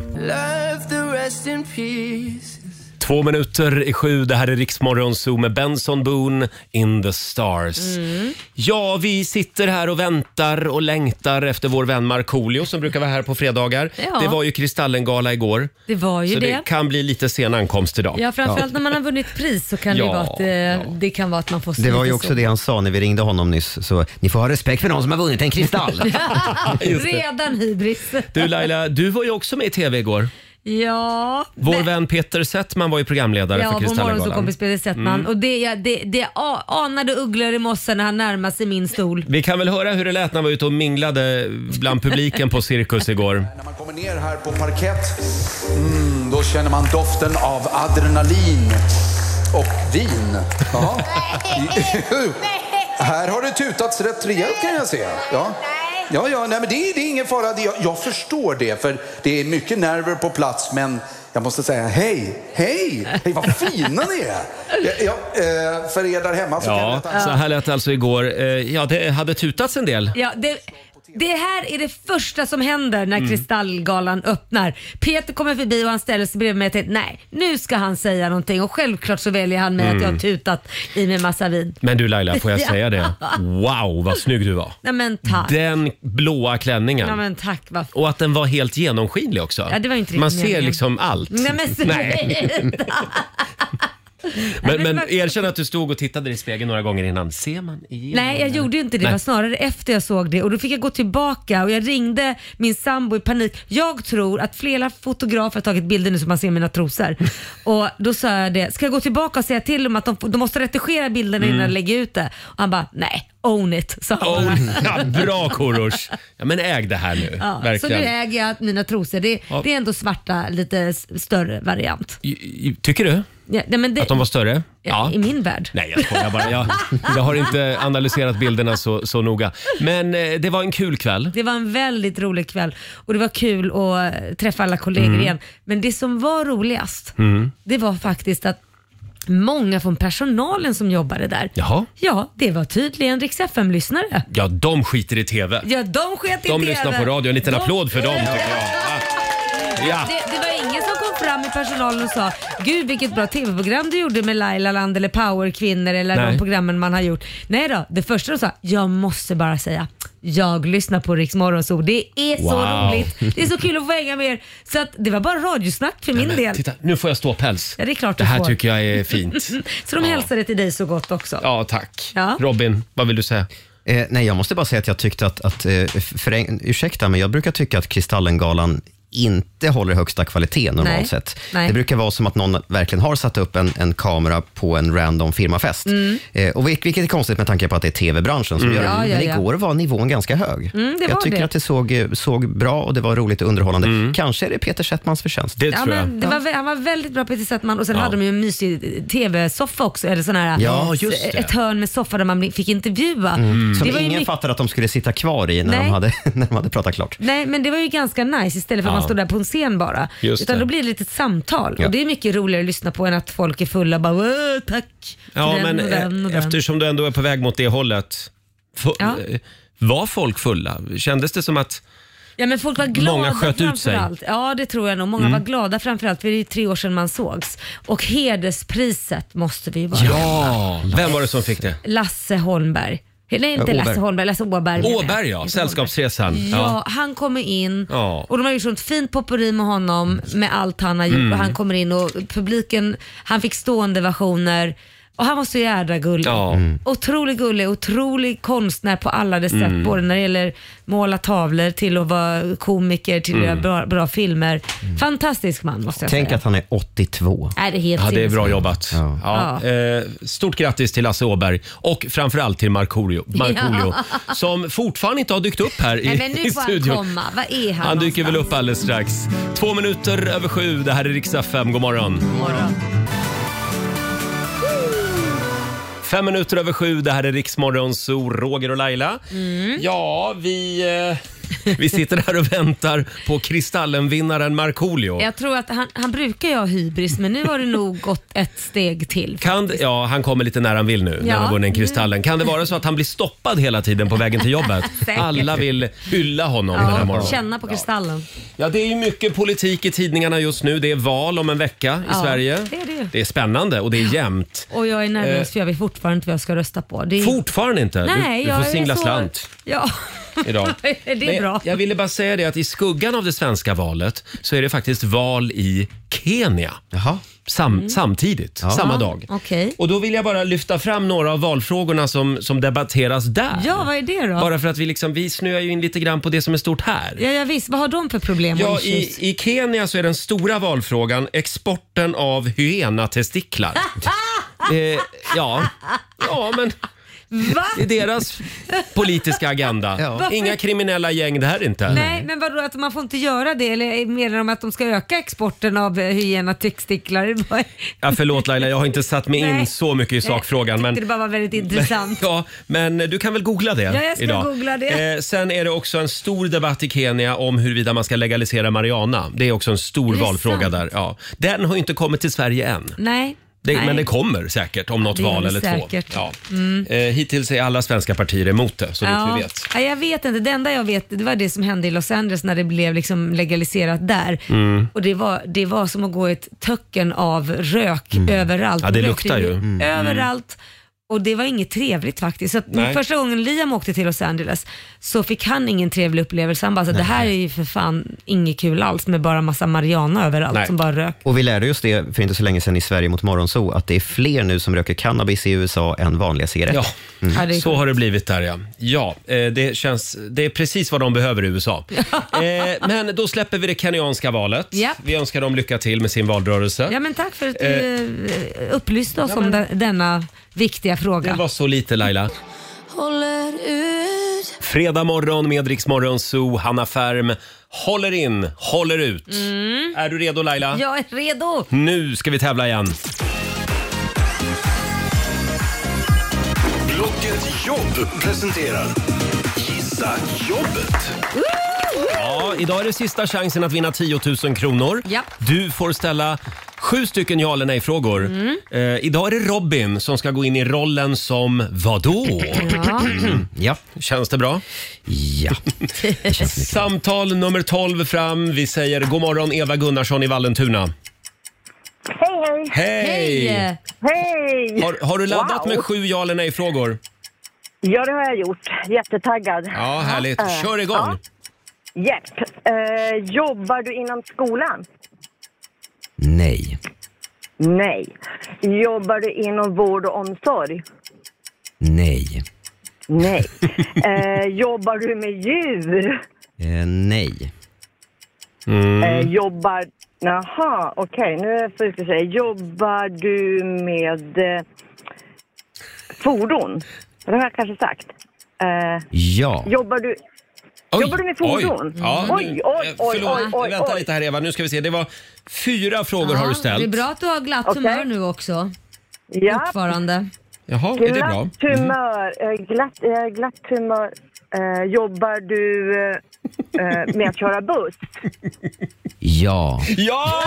Två minuter i sju. Det här är Riksmorgon Zoo med Benson Boone in the stars. Mm. Ja, vi sitter här och väntar och längtar efter vår vän Markoolio som brukar vara här på fredagar. Ja. Det var ju Kristallengala igår. Det var ju Så det. det kan bli lite sen ankomst idag. Ja, framförallt när man har vunnit pris så kan det Ja, ju vara att, eh, ja. det kan vara att man får Det var ju lite också så. det han sa när vi ringde honom nyss. Så ni får ha respekt för någon som har vunnit en kristall. Just det. Redan hybris. Du Laila, Eh, du var ju också med i TV igår. Ja. Vår men- vän Peter Settman var ju programledare Ja, för Mm. vår Kristallengalan. morgonsåkompis Peter Settman. Och det, ja, det, det a- anade ugglor i mossen när han närmade sig min stol. Vi kan väl höra hur det lät när han var ute och minglade bland publiken på Cirkus igår. När man kommer ner här på parkett, mm, då känner man doften av adrenalin och vin. Ja. Jo. här har det tutats rätt rejält kan jag se. Ja, ja, ja nej, men det, är- det är ingen fara. Det, jag, jag förstår det, för det är mycket nerver på plats, men jag måste säga hej, hej, hej vad fina ni är. Ja, ja, eh, för er där hemma så kan Ja, jag ta så här lät det alltså igår. Eh, Ja, det hade tutats en del. Ja, det, Det här är det första som händer när Mm. Kristallgalan öppnar. Peter kommer förbi och han ställer sig bredvid mig och tänker nej, nu ska han säga någonting och självklart så väljer han mig att jag Mm. har tutat i mig massa vin. Men du Laila, får jag Ja. säga det? Wow, vad snygg du var. Nej men tack. Den blåa Ja klänningen. men tack. Vad Och att den var helt genomskinlig också. Ja, det var inte riktigt Man ser meningen. liksom allt. Nej men sluta. Men, men erkänn att du stod och tittade i spegeln några gånger innan. Ser man igenom? Nej, jag gjorde ju inte det. Det Nej. var snarare efter jag såg det och då fick jag gå tillbaka och jag ringde min sambo i panik. Jag tror att flera fotografer har tagit bilder nu så man ser mina trosor. och då sa jag det, ska jag gå tillbaka och säga till dem att de, de måste retuschera bilderna innan Mm. jag lägger ut det? Och han bara, nej, own it, sa han. Oh, ja, bra Korosh! Ja, men äg det här nu. Ja, så nu verkligen. äger jag mina trosor. Det, Ja. det är ändå svarta, lite s- större variant. I- i- Tycker du? Ja, nej, men det, Att de var större? ja. I min värld. Nej, jag skojar bara. Jag, jag har inte analyserat bilderna så, så noga. Men eh, det var en kul kväll. Det var en väldigt rolig kväll och det var kul att eh, träffa alla kollegor Mm. igen. Men det som var roligast, Mm. det var faktiskt att många från personalen som jobbade där, Jaha. ja, det var tydligen Rix FM-lyssnare. Ja, de skiter i TV. Ja, de sket i De TV. lyssnar på radio. En liten De- applåd för dem tycker jag. Ja. Det, det var ingen som kom fram i personalen och sa “Gud vilket bra TV-program du gjorde med Laila Land eller Power Kvinnor eller Nej. de programmen man har gjort”. Nej då, det första de sa “Jag måste bara säga, jag lyssnar på Rix Morgonzoo. Det är så Wow. roligt. Det är så kul att få hänga med er.” Så att det var bara radiosnack för min del. Titta, nu får jag stå päls. Ja, det är klart Det du här får. tycker jag är fint. Så de hälsade till dig så gott också. Ja, tack. Ja. Robin, vad vill du säga? Eh, nej, jag måste bara säga att jag tyckte att, att eh, föräng- ursäkta, men jag brukar tycka att Kristallengalan inte håller högsta kvalitet normalt Nej. sett. Nej. Det brukar vara som att någon verkligen har satt upp en, en kamera på en random firmafest. Mm. Eh, och vil- vilket är konstigt med tanke på att det är tv-branschen som Mm. gör det. Ja, ja, men ja. igår var nivån ganska hög. Mm, det jag var tycker det. att det såg, eh, såg bra och det var roligt och underhållande. Kanske är det Peter Settmans förtjänst. Mm. Det Ja, men det var, vä- han var väldigt bra Peter Settman och sen hade de ju en mysig TV-soffa också. Eller sån här, eh, Ja, just det. Ett hörn med soffa där man bli- fick intervjua. Mm. Som Det var ju ingen mycket- fattade att de skulle sitta kvar i när, Nej. de hade, när de hade pratat klart. Nej, men det var ju ganska nice istället för att Ja. man står där på en scen bara. Just Utan det. då blir det lite samtal Ja. och det är mycket roligare att lyssna på än att folk är fulla och bara "Åh, tack. till Ja, den men och den och eh, den." eftersom du ändå är på väg mot det hållet. Fu- Ja. eh, Var folk fulla? Kändes det som att... Ja, men folk var glada Många sköt ut sig. framförallt. Ja, det tror jag nog. Många Mm. var glada framförallt för det är ju tre år sedan man sågs. Och hederspriset måste vi ju bara Ja! Vem var det som fick det? Lasse Holmberg. Nej, inte Åberg. Lasse Holmberg, Lasse Åberg. menar jag. Åberg ja, Sällskapsresan. Ja, han kommer in Ja. och de har gjort sånt fint potpurri med honom med allt han har gjort Mm. och han kommer in och publiken, han fick stående versioner och han var så jädra gullig. Ja. Mm. Otroligt gullig, otrolig konstnär på alla dess sätt. Mm. Både när det gäller måla tavlor till att vara komiker till att Mm. göra bra, bra filmer. Fantastisk man måste jag Tänk säga. att han är 82. Nej, det är helt Ja, det är bra sinnessjukt. jobbat. Ja. Eh, stort grattis till Lasse Åberg och framförallt till Markoolio, Markoolio Ja. som fortfarande inte har dykt upp här i, Nej, men nu i får han studion. komma. Vad är han? Han dyker väl någonstans? upp alldeles strax. Två minuter över sju. Det här är riksdag 5. God morgon. Morgon. Fem minuter över sju. Det här är Riksmorgon, så Roger och Laila. Mm. Ja, vi... Eh, vi sitter här och väntar på Kristallenvinnaren Markoolio. Jag tror att han, han brukar ju ha hybris men nu har det nog gått ett steg till. Kan, det- ja, han kommer lite när han vill nu, när Ja. han har vunnit Kristallen. Kan det vara så att han blir stoppad hela tiden på vägen till jobbet? Säkert. Alla vill hylla honom den här Ja, morgonen. känna på kristallen. Ja, det är ju mycket politik i tidningarna just nu. Det är val om en vecka i Ja, Sverige. det är det ju. Det är spännande och det är jämnt. Och jag är nervös Eh. för jag vet fortfarande inte vad jag ska rösta på. Det är... Fortfarande inte. Nej, du, du jag får är singla så- slant Ja, idag. det är Men bra. Jag, jag ville bara säga det att i skuggan av det svenska valet så är det faktiskt val i Kenya. Sam, Mm. Samtidigt, samma dag. Okej. Och då vill jag bara lyfta fram några av valfrågorna som, som debatteras där. Ja, vad är det då? Bara för att vi, liksom, vi snöar ju in lite grann på det som är stort här. Ja, ja, visst. Vad har de för problem? Ja, och issues? i, I Kenya så är den stora valfrågan exporten av hyena-testiklar. eh, ja. ja, men Va? det är deras politiska agenda. Varför? Inga kriminella gäng det här inte. Nej, men vadå att man får inte göra det? Eller menar de att de ska öka exporten av eh, hyena-textiklar? Ja, förlåt Laila, jag har inte satt mig in Nej. så mycket i sakfrågan. Men... Det bara var väldigt intressant. Ja, men du kan väl googla det Ja, jag ska idag. googla det. Eh, sen är det också en stor debatt i Kenya om huruvida man ska legalisera marijuana. Det är också en stor Är det valfråga sant? där. Ja. Den har ju inte kommit till Sverige än. Nej, Det, Nej. men det kommer säkert om något Det gör val det eller säkert. två. Ja. Mm. Eh, hittills är alla svenska partier emot det, så vitt vi vet. Ja, jag vet inte. Det enda jag vet det var det som hände i Los Angeles när det blev liksom legaliserat där. Mm. Och det var, det var som att gå i ett töcken av rök överallt. Mm. Ja, det Och luktar ju. rökte Mm. Överallt. Och det var inget trevligt faktiskt. Så att Nej. första gången Liam åkte till Los Angeles så fick han ingen trevlig upplevelse. Han bara, så, det här är ju för fan inget kul alls med bara massa marijuana överallt som bara rök. Och vi lärde oss det för inte så länge sedan i Sverige mot Morgonzoo, att det är fler nu som röker cannabis i USA än vanliga cigaretter. Ja, Mm. så har det blivit där ja. Ja, eh, det, känns, det är precis vad de behöver i USA. eh, men då släpper vi det kenyanska valet. Ja. Vi önskar dem lycka till med sin valrörelse. Ja men tack för att du Eh. eh, upplyste oss om de- denna viktiga Det fråga. var så lite Laila. Håller ut. Fredag morgon med Rix Morgon Zoo, Hanna Färm håller in, håller ut. Mm. Är du redo Laila? Jag är redo. Nu ska vi tävla igen. Blocket Jobb presenterar Gissa Jobbet. Ja, idag är det sista chansen att vinna 10 000 kronor. Ja. Du får ställa sju stycken ja eller nej-frågor. Eh, idag är det Robin som ska gå in i rollen som vadå? Ja. ja. Känns det bra? Ja. Samtal nummer 12 fram. Vi säger god morgon Eva Gunnarsson i Vallentuna. Hej, Hej! Hej! Hej! Hej! Har, har du laddat Wow. med sju ja eller nej-frågor? Ja, det har jag gjort. Jättetaggad. Ja, härligt. Eh, Kör igång. ja. Japp. Eh, jobbar du inom skolan? Nej. Nej. Jobbar du inom vård och omsorg? Nej. Nej. Eh, jobbar du med djur? Eh, nej. Mm. Eh, jobbar... Jaha, okej. Nu får jag säga. Jobbar du med eh, fordon? Det har jag kanske sagt. Eh, Ja. Jobbar du... Oj, jobbar du med fordon? Oj, ja, oj, nu- oj, eh, oj, förlåt. oj, oj, Vänta oj. lite här Eva, nu ska vi se. Det var fyra frågor Ja, har du Det är ställt. bra att du har glatt humör nu också. Ja. Fortfarande. Jaha, är det bra? Mm. Glatt humör. eh, Glatt, eh, glatt humör. Eh, jobbar du eh, eh, med att köra buss? Ja. Ja!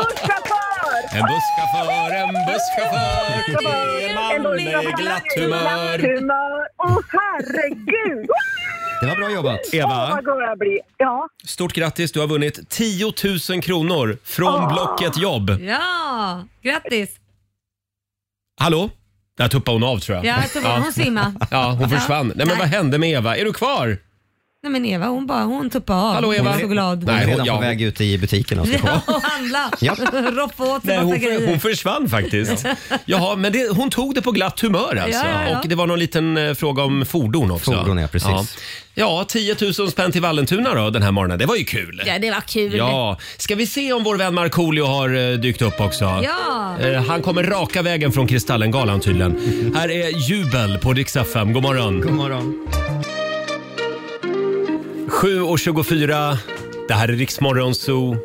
Busschaufför! En busschaufför, en busschaufför, det är en man med glatt humör. humör. Åh, herregud! Det var bra jobbat. Åh, Eva, vad glad jag blir. Ja. stort grattis. Du har vunnit 10 000 kronor från Åh. Blocket Jobb. Ja, grattis. Hallå? Där tuppade hon av tror jag. Ja, jag tror hon simmade. Ja, hon Ja. försvann. Nej men vad hände med Eva? Är du kvar? Nej men Eva hon bara, hon tuppade av. Hallå, Eva? Hon är så glad. Hon är redan ja. på väg ut i butiken och ska Ja, ja. och handla. Ja. Roffa åt sig Nej, massa hon, för, hon grejer. försvann faktiskt. Jaha, men det, hon tog det på glatt humör alltså. Ja, ja, ja. Och det var någon liten eh, fråga om fordon också. Fordon, ja, precis. Ja, ja 10 000 spänn till Vallentuna då den här morgonen. Det var ju kul. Ja, det var kul. Ja, ska vi se om vår vän Markoolio har eh, dykt upp också? Ja. Eh, han kommer raka vägen från Kristallengalan tydligen. Här är Jubel på Dix FM. God morgon. God morgon. 7.24. Det här är Riksmorgon Zoo.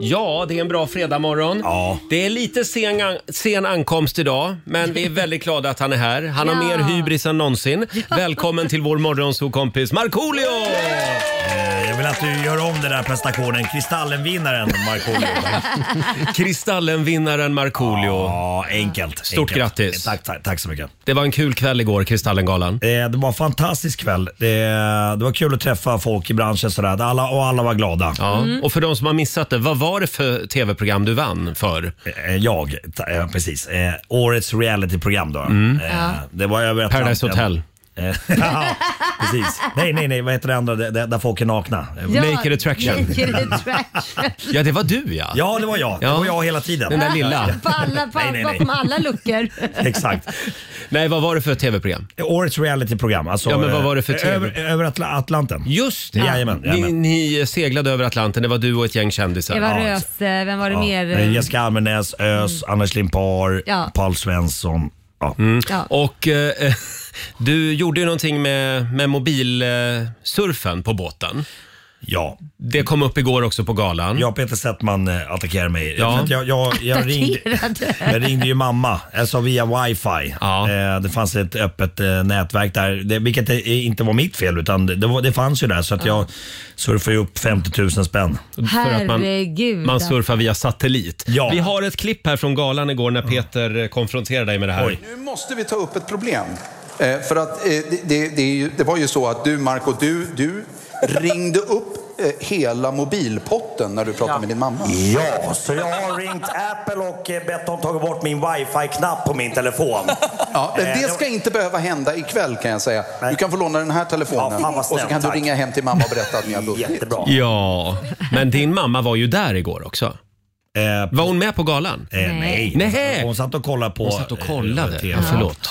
Ja, det är en bra fredagmorgon. Ja. Det är lite sen, sen ankomst idag, men vi är väldigt glada att han är här. Han har Ja. mer hybris än någonsin. Välkommen till vår morgonzoo-kompis Markoolio! Eh, Jag vill att du gör om den där prestationen. Kristallenvinnaren Markoolio. Kristallenvinnaren Markoolio. Ja, enkelt. Stort enkelt. grattis. Tack, tack, tack så mycket. Det var en kul kväll igår, Kristallengalan. Eh, Det var en fantastisk kväll. Det, det var kul att träffa folk i branschen sådär. Alla, och alla var glada. Ja. Och för de som har missat det, vad var det för tv-program du vann för? Jag? Ta- eh, Precis. Eh, Årets realityprogram då. Eh, Mm. Ja. Det var över Atlanten. Paradise Hotel. Eh, ja, precis. Nej, nej, nej. Vad heter det andra? Det- det- Där folk är nakna. Ja, Naked Attraction. Naked attraction. Ja, det var du ja. Ja, det var jag. Det var jag hela tiden. Den där lilla. På alla, på, Nej, nej, nej. bakom alla luckor. Exakt. Nej, vad var det för tv-program? Årets realityprogram. Alltså, Ja, men vad var det för eh, TV? Över, över Atla- Atlanten. Just det. Jajamän, Ni, jajamän. ni seglade över Atlanten, det var du och ett gäng kändisar. Eva Röse, vem var det mer? Eh, Jessica Almenäs, ÖS, Anders Limpar, Ja. Paul Svensson. Ja. Mm. Ja. Och eh, du gjorde ju någonting med, med mobilsurfen på båten. Ja. Det kom upp igår också på galan. Ja, Peter Settman eh, attackerade mig. Ja. För att Jag, jag, eh, jag, ringde, jag ringde ju mamma, alltså via wifi. Eh, det fanns ett öppet eh, nätverk där, det, vilket det inte var mitt fel utan det, det, var, det fanns ju där. Så att jag surfade ju upp 50 000 spänn. Herregud. Man surfar via satellit. Ja. Vi har ett klipp här från galan igår när Peter eh, konfronterade dig med det här. Nu måste vi ta upp ett problem. Eh, för att eh, det, det, det, är ju, det var ju så att du, Marco, du, du ringde upp eh, hela mobilpotten när du pratade med din mamma. Ja, så jag har ringt Apple och eh, bett dem ta bort min wifi-knapp på min telefon. Ja, men Eh, det ska inte behöva hända ikväll kan jag säga. Du kan få låna den här telefonen Ja, fan vad och så snällt, kan du tack. ringa hem till mamma och berätta att ni har vunnit. Jättebra. Ja, men din mamma var ju där igår också. var hon med på galan? Eh, nej. Nej. Hon satt och kollade på... Hon satt och kollade. eh, Ja, förlåt.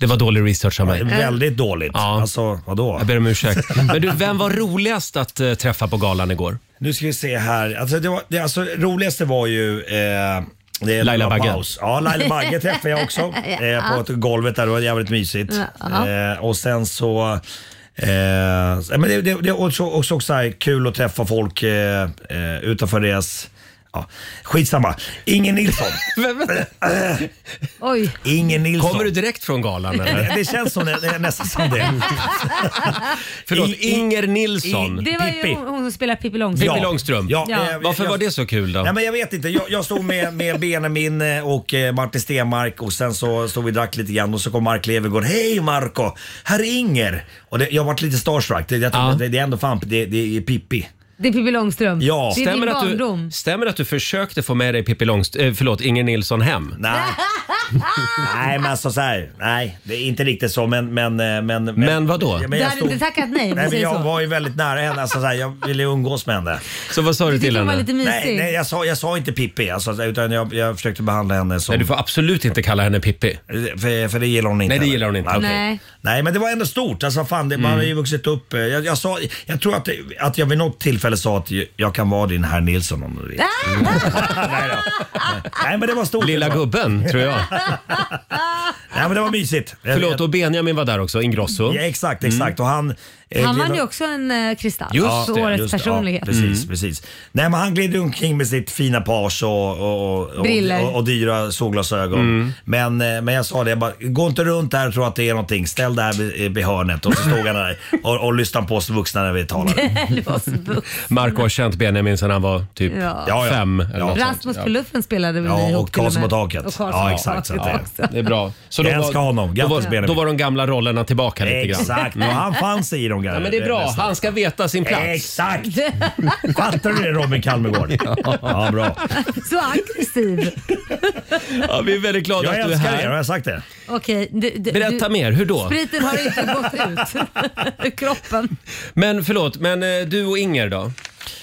Det var dålig research av mig. Väldigt dåligt. Ja. Alltså, vadå? Jag ber om ursäkt. Men du, vem var roligast att eh, träffa på galan igår? Nu ska vi se här. Alltså, det, var, det alltså, roligaste var ju... Eh, det Laila var Bagge. paus. Ja, Laila Bagge träffade jag också eh, på ett golvet där. Det var jävligt mysigt. Ja. Eh, och sen så... Eh, men det, det, det är också, också, också så här kul att träffa folk eh, eh, utanför deras... Ja, skitsamma. Ingen Nilsson. Oj. Ingen Nilsson. Kommer du direkt från galan eller? det känns som det, det är nästan som det. Förlåt, I- i- Inger Nilsson. Det var ju hon hon som spelade Pippi Långstrump. Pippi Långstrump. Ja, Ja. eh, Varför jag- var det så kul då? Nej, men jag vet inte. Jag, jag stod med, med Benjamin eh, och eh, Martin Stenmark och sen så stod vi och drack lite grann och så kom Mark Levergård. Hej Marco, här är Inger. Och det, jag varit lite starstruck. Det, jag tänkte, det, det är ändå fan, det, det är Pippi. Det är Pippi Långstrump. Det är stämmer, din att barndom. du, stämmer att du försökte få med dig Pippi Långstrump, eh, förlåt, Inger Nilsson hem? Nej. nej men alltså så här, nej det är inte riktigt så men... Men, men, men, Men vadå? Ja, Du jag hade inte tackat nej, om vi nej men säger jag så. var ju väldigt nära henne. Alltså, så här, jag ville ju umgås med henne. Så vad sa du till hon var henne? lite mysig? Nej, nej jag, sa, jag sa inte Pippi alltså, utan jag, jag försökte behandla henne som... Nej, du får absolut inte kalla henne Pippi. För, för det gillar hon inte. Nej, det gillar hon inte. Mm. Okej. Nej. Nej. men det var ändå stort. Alltså, fan, det, Man har ju vuxit upp. eh, Jag, jag, sa, jag tror att, att jag vid något tillfälle sa att ju- jag kan vara din herr Nilsson om du Ah! vill. Nej, men det var stort. Lilla gubben, Mm, tror jag. Nej, men det var mysigt. Förlåt, och Benjamin var där också, Ingrosso. Ja, exakt, Mm. exakt. Och han... eh, Han vann gillar- ju också en eh, kristall. Ja, för det, årets just det. personlighet. Ja, precis, Mm. precis. Nej, men han gled ju omkring med sitt fina page och, och, och, Briller. och, och dyra solglasögon. Mm. Men, eh, men jag sa det, jag bara, gå inte runt där och tro att det är någonting. Ställ det här vid, vid hörnet. Och så stod han där och, och lyssnade på oss vuxna när vi talade. Det var så dumt. Marco har känt Benjamin sedan han var typ Ja. fem. Eller något sånt. Rasmus på luffen spelade vi Ja, Mm, ihop och till Karlsson med. på taket. Och Karlsson Ja, på exakt, taket så att- också. Det är bra. Så Jag älskar honom. Då Grattis, var, Benjamin. då var de gamla rollerna tillbaka lite grann. Exakt, och han fanns i dem. Ja, men det är bra. Han ska veta sin plats. Exakt! Fattar du det Robin Kalmegård? Ja, bra. Så aggressiv. Ja, vi är väldigt glada Jag att du är älskar här. er, har jag sagt det? Okej. du- du- Berätta du- mer, hur då? Spriten har inte gått ut ur kroppen. Men förlåt, men eh, du och Inger då?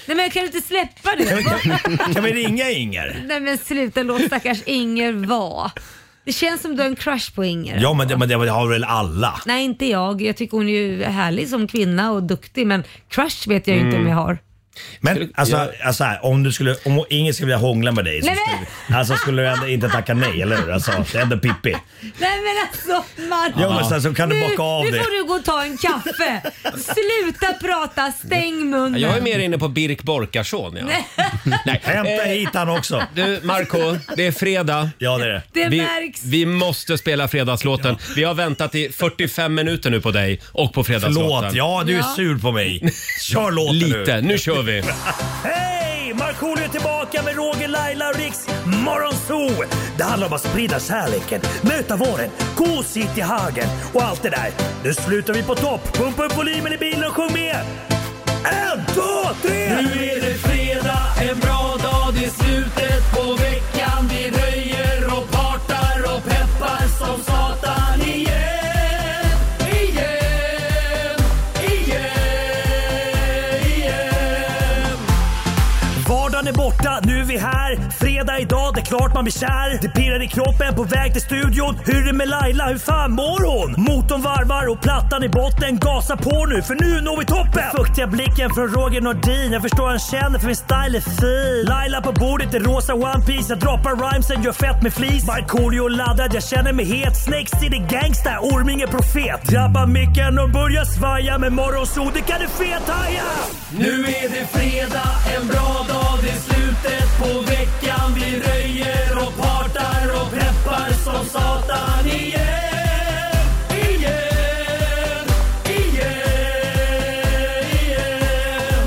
Nej men jag kan inte släppa det. Kan vi ringa Inger? Nej men sluta låt stackars Inger vara. Det känns som du har en crush på Inger. Ja, men det, men det har väl alla? Nej inte jag. Jag tycker hon är ju härlig som kvinna och duktig men crush vet jag ju inte om Mm. jag har. Men alltså, alltså här, om, du skulle, om ingen skulle vilja hångla med dig så Nej, skulle, alltså, skulle du ändå inte tacka nej, eller hur? Alltså, det är ändå Pippi. Nej men alltså Marco. Ja, men sen så kan du nu, bocka av nu det. får du gå och ta en kaffe. Sluta prata, stäng munnen. Jag är mer inne på Birk Borkarsson. Ja. Nej. Nej. Hämta hit han också. Du, Marco, det är fredag. Ja, det är Det vi, märks. vi måste spela fredagslåten. Vi har väntat i 45 minuter nu på dig och på fredagslåten. Förlåt, ja du är Ja. sur på mig. Kör låten Lite, nu kör vi. Hej! Markoolio är tillbaka med Roger, Laila och Riks Morgonzoo! Det handlar om att sprida kärleken, möta våren, gosigt i hagen och allt det där. Nu slutar vi på topp! Pumpa upp volymen i bilen och sjung med! En, två, tre! Nu är det fredag, en bra dag, det är slutet på veckan. Vi röjer och partar och peppar som satan igen, igen, igen, igen. Vardagen är borta, nu är vi här. Fredag fredag idag, det är klart man blir kär. Det pirrar i kroppen på väg till studion. Hur är det med Laila, hur fan mår hon? Motorn varvar och plattan i botten. Gasa på nu, för nu når vi toppen! Den fuktiga blicken från Roger Nordin. Jag förstår han känner, för min style är fin. Laila på bordet i rosa One Piece Jag droppar rhymesen, gör fett med flis. Markoolio laddad, jag känner mig het. Snakes city gangsta, Orminge profet. Drabbar micken och börjar svaja. Med morgonsol, det kan du fethaja! Nu är det fredag, en bra dag, det är slutet på veckan. Vi röjer och partar och peppar som satan igen. Igen, igen, igen.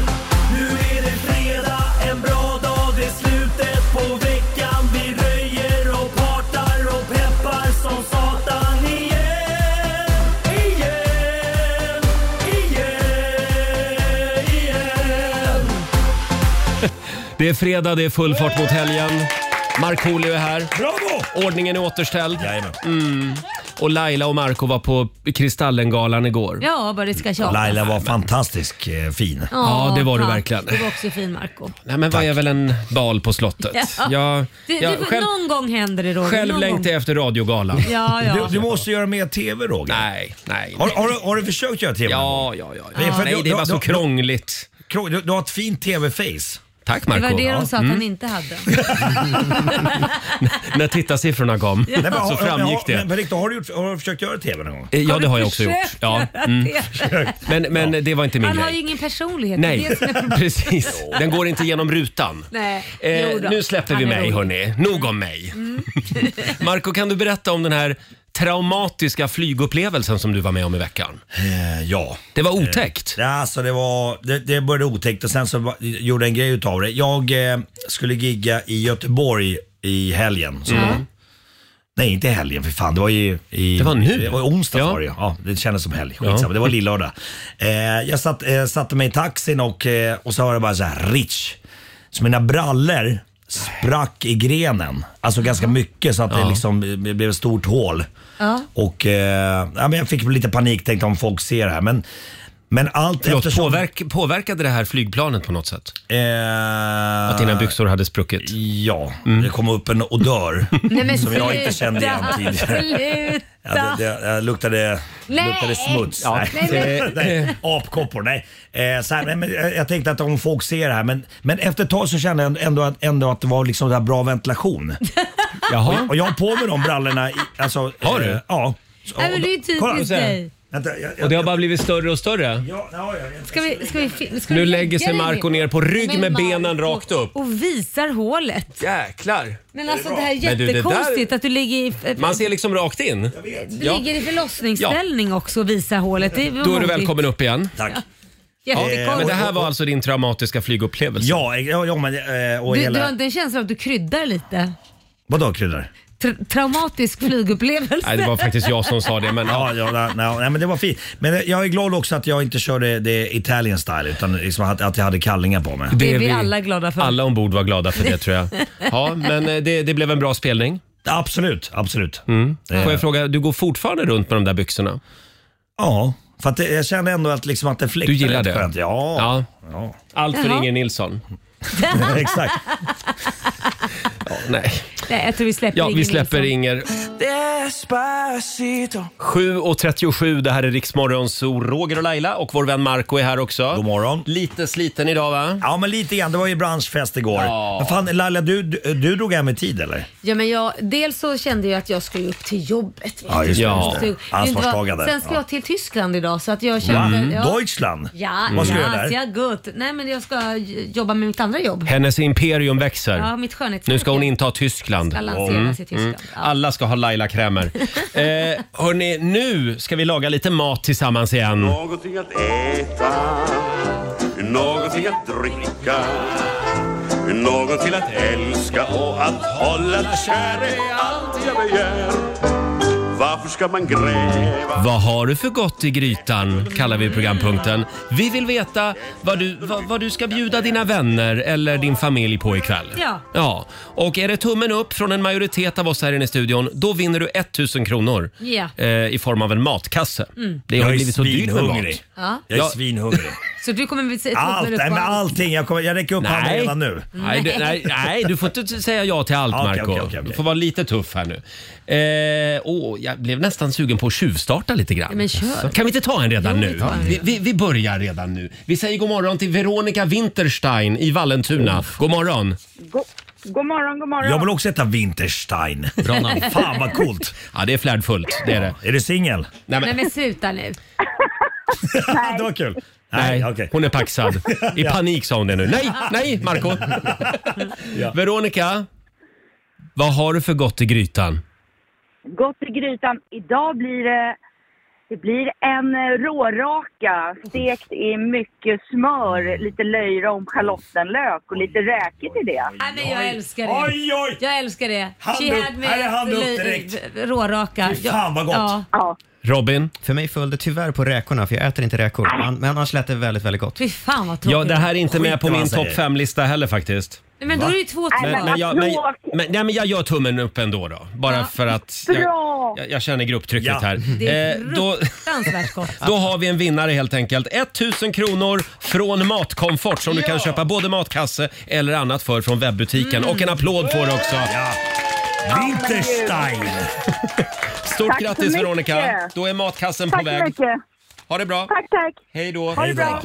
Nu är det fredag, en bra dag, det är slutet på veckan. Vi röjer och partar och peppar som satan igen. Igen, igen, igen. Det är fredag, det är full fart mot helgen. Markoolio är här. Bravo! Ordningen är återställd. Mm. Och Laila och Marco var på Kristallengalan igår. Ja, bara det ska tjatas. fantastisk eh, fin. Ja, Ja, det var du tack. verkligen. Du var också fin Marco Nej, men vad är väl en bal på slottet? Jag, det, jag det, själv, någon gång händer det Roger. själv någon längtar jag efter radiogalan. Ja, ja. Du, du måste göra mer TV Roger. Nej, nej. Har, har, du, har du försökt göra TV? Ja, ja, ja. Nej, det var så krångligt. Du, du har ett fint TV-face. Tack gång. Marco. Det var det de sa att Mm. han inte hade. När tittarsiffrorna kom Nej, men, så har, framgick har, det. Men på riktigt, har du, gjort, har du försökt göra TV någon gång? Eh, Ja, det har jag också gjort. Ja. Mm. Men, men det var inte min Han har ju grej. ingen personlighet. Det är Nej, det som är problemet. precis. Den går inte genom rutan. Nej. Eh, Jo då. nu släpper vi Han är mig rolig. hörni. Nog om mig. Marco, kan du berätta om den här traumatiska flygupplevelsen som du var med om i veckan? Eh, Ja. Det var otäckt. Eh, alltså det, var, det, det började otäckt och sen så va- gjorde jag en grej utav det. Jag eh, skulle gigga i Göteborg i helgen. Så Mm. Nej, inte i helgen för fan. Det var ju i, Det var nu. Det var onsdag var det ju. ja. Det kändes som helg. Skitsamma, Ja. det var lillördag. Eh, jag satt, eh, satte mig i taxin och, eh, och så hörde jag bara så här Rich. Så mina brallor sprack i grenen. Alltså ganska mycket så att det Ja. liksom eh, blev ett stort hål. Ja. Och eh, ja, men jag fick lite panik tänkte om folk ser det här. Men, men allt Förlåt, eftersom... påverk, påverkade det här flygplanet på något sätt? Eh, Att dina byxor hade spruckit? Mm. Ja, det kom upp en odör Nej, men som jag inte kände sluta, igen tidigare. Ja, Sluta! det, er- det, jag luktade, Nej. luktade smuts. Ja, nej. nej, men- nej. Apkoppor, nej. Eh, så här, nej, men jag, jag tänkte att om folk ser det här, men, men efter ett tag så kände jag ändå att, ändå att det var liksom det här bra ventilation. Och, jag- och jag har på mig de brallorna. I, alltså, Har eh, du? Ja. Nej, men det är ju typiskt Kolla, så här. dig. Vänta, jag, Och det har bara blivit större och större? Ska vi, ska vi, fi- ska Nu vi lägger sig lägga dig Marco ner på rygg Men med Marco, benen rakt upp. Och visar hålet. Jäklar! Men alltså det här är Men du, det där- jättekonstigt att du ligger i, Man ser liksom rakt in. Ja. ligger i förlossningsställning också och visar hålet. Det Då är du välkommen upp igen. Tack. Eh, Jättekonstigt. Men det här var alltså din traumatiska flygupplevelse? Ja, ja, ja men... Eh, du, du har inte en känsla av att du kryddar lite? Vadå kryddor? Tra- traumatisk flygupplevelse. sa det. Men... Ja, ja, nej, nej, nej, men det var fint. Men jag är glad också att jag inte körde det Italian style utan liksom att, att jag hade kallingar på mig. Det är vi alla glada för. Alla ombord var glada för det tror jag. Ja, men eh, det, det blev en bra spelning. Absolut, absolut. Mm. Eh. Får jag fråga, du går fortfarande runt med de där byxorna? Ja, för att det, jag kände ändå att, liksom att det fläktade Du gillar lite det? skönt. Ja. Ja. ja. Allt för Jaha. Inger Nilsson? Exakt. Ja, nej. Nej, jag tror vi släpper Ja, vi Inger släpper Nilsson. Inger. 7.37, det här är Riksmorgon, så Roger och Laila och vår vän Marco är här också. God morgon. Lite sliten idag va? Ja, men lite grann. Det var ju branschfest igår. Ja. Men fan, Laila, du, du, du drog hem i tid eller? Ja, men jag, dels så kände jag att jag skulle upp till jobbet. Ja, just det, just det. Så- Ansvarstagande. Sen ska Ja. jag till Tyskland idag så att jag kände... Mm. Ja, Deutschland? ja, Vad ska du ja, göra så där? jag gott. Nej, men jag ska j- jobba med mitt andra jobb. Hennes imperium växer. Ja, mitt skönhetsmärke. Nu ska hon inta Tyskland. Mm. Ska lanseras i Tyskland, Alla ska ha Laila-krämer. eh, hörni, nu ska vi laga lite mat tillsammans igen. Någonting att äta, någonting att dricka Någon till att älska och att hålla kär är allt jag begär Varför ska man gräva? Vad har du för gott i grytan? kallar vi programpunkten. Vi vill veta vad du, vad, vad du ska bjuda dina vänner eller din familj på ikväll. Ja. ja. Och är det tummen upp från en majoritet av oss här inne i studion, då vinner du 1000 kronor. Ja. Eh, I form av en matkasse. Mm. Det har Jag är blivit så dyrt med mat. svinhungrig. Jag är svinhungrig. Så du kommer med Allt, nej, men allting. Jag, kommer, jag räcker upp handen redan nu. Nej, det, nej, nej, du får inte t- säga ja till allt Ja, okej, Marco. okej, okej, okej. Du får vara lite tuff här nu. Eh, åh, jag blev nästan sugen på att tjuvstarta lite grann. Ja, men kör. Jaså. Kan vi inte ta en redan Jo, vi nu? tar en Vi, vi, vi börjar redan nu. Vi säger god morgon till Veronica Winterstein i Vallentuna. God morgon. God, god morgon, god morgon. Oh. Jag vill också heta Winterstein. Bra namn. Fan vad coolt. Ja, det är flärdfullt. Det är det. Är du singel? Nej, Nej men sluta nu. det var kul. Nej, hon är paxad. I panik sa hon det nu. Nej, nej Marco Veronica, vad har du för gott i grytan? Gott i grytan. Idag blir det, det blir en eh, råraka stekt i mycket smör, lite löjrom, schalottenlök och lite räkor till det. Nej, men jag älskar det. Oj, oj. Jag älskar det. Hand She upp. had me Här är hand upp li- direkt. Råraka. Fy fan, vad gott. Ja. Robin? För mig föll det tyvärr på räkorna, för jag äter inte räkor. Men- Men annars lät det väldigt, väldigt gott. Fy fan vad tråkigt. Ja, det här är inte med på vad min han säger. topp 5-lista heller faktiskt. Nej, Men då är det ju två Men, men, jag, men, men, nej, men jag gör tummen upp ändå då. Bara för att jag, Bra. jag, jag känner grupptrycket här. Det är Eh, då, fruktansvärt gott. då har vi en vinnare helt enkelt. 1000 kronor från Matkomfort som du kan köpa både matkasse eller annat för från webbutiken. Och en applåd får du också. Winterstein! Stort Tack så grattis mycket. Veronica. Då är matkassen Tack på så väg. mycket. Ha det bra. Tack, tack. Hej då. Ha det bra.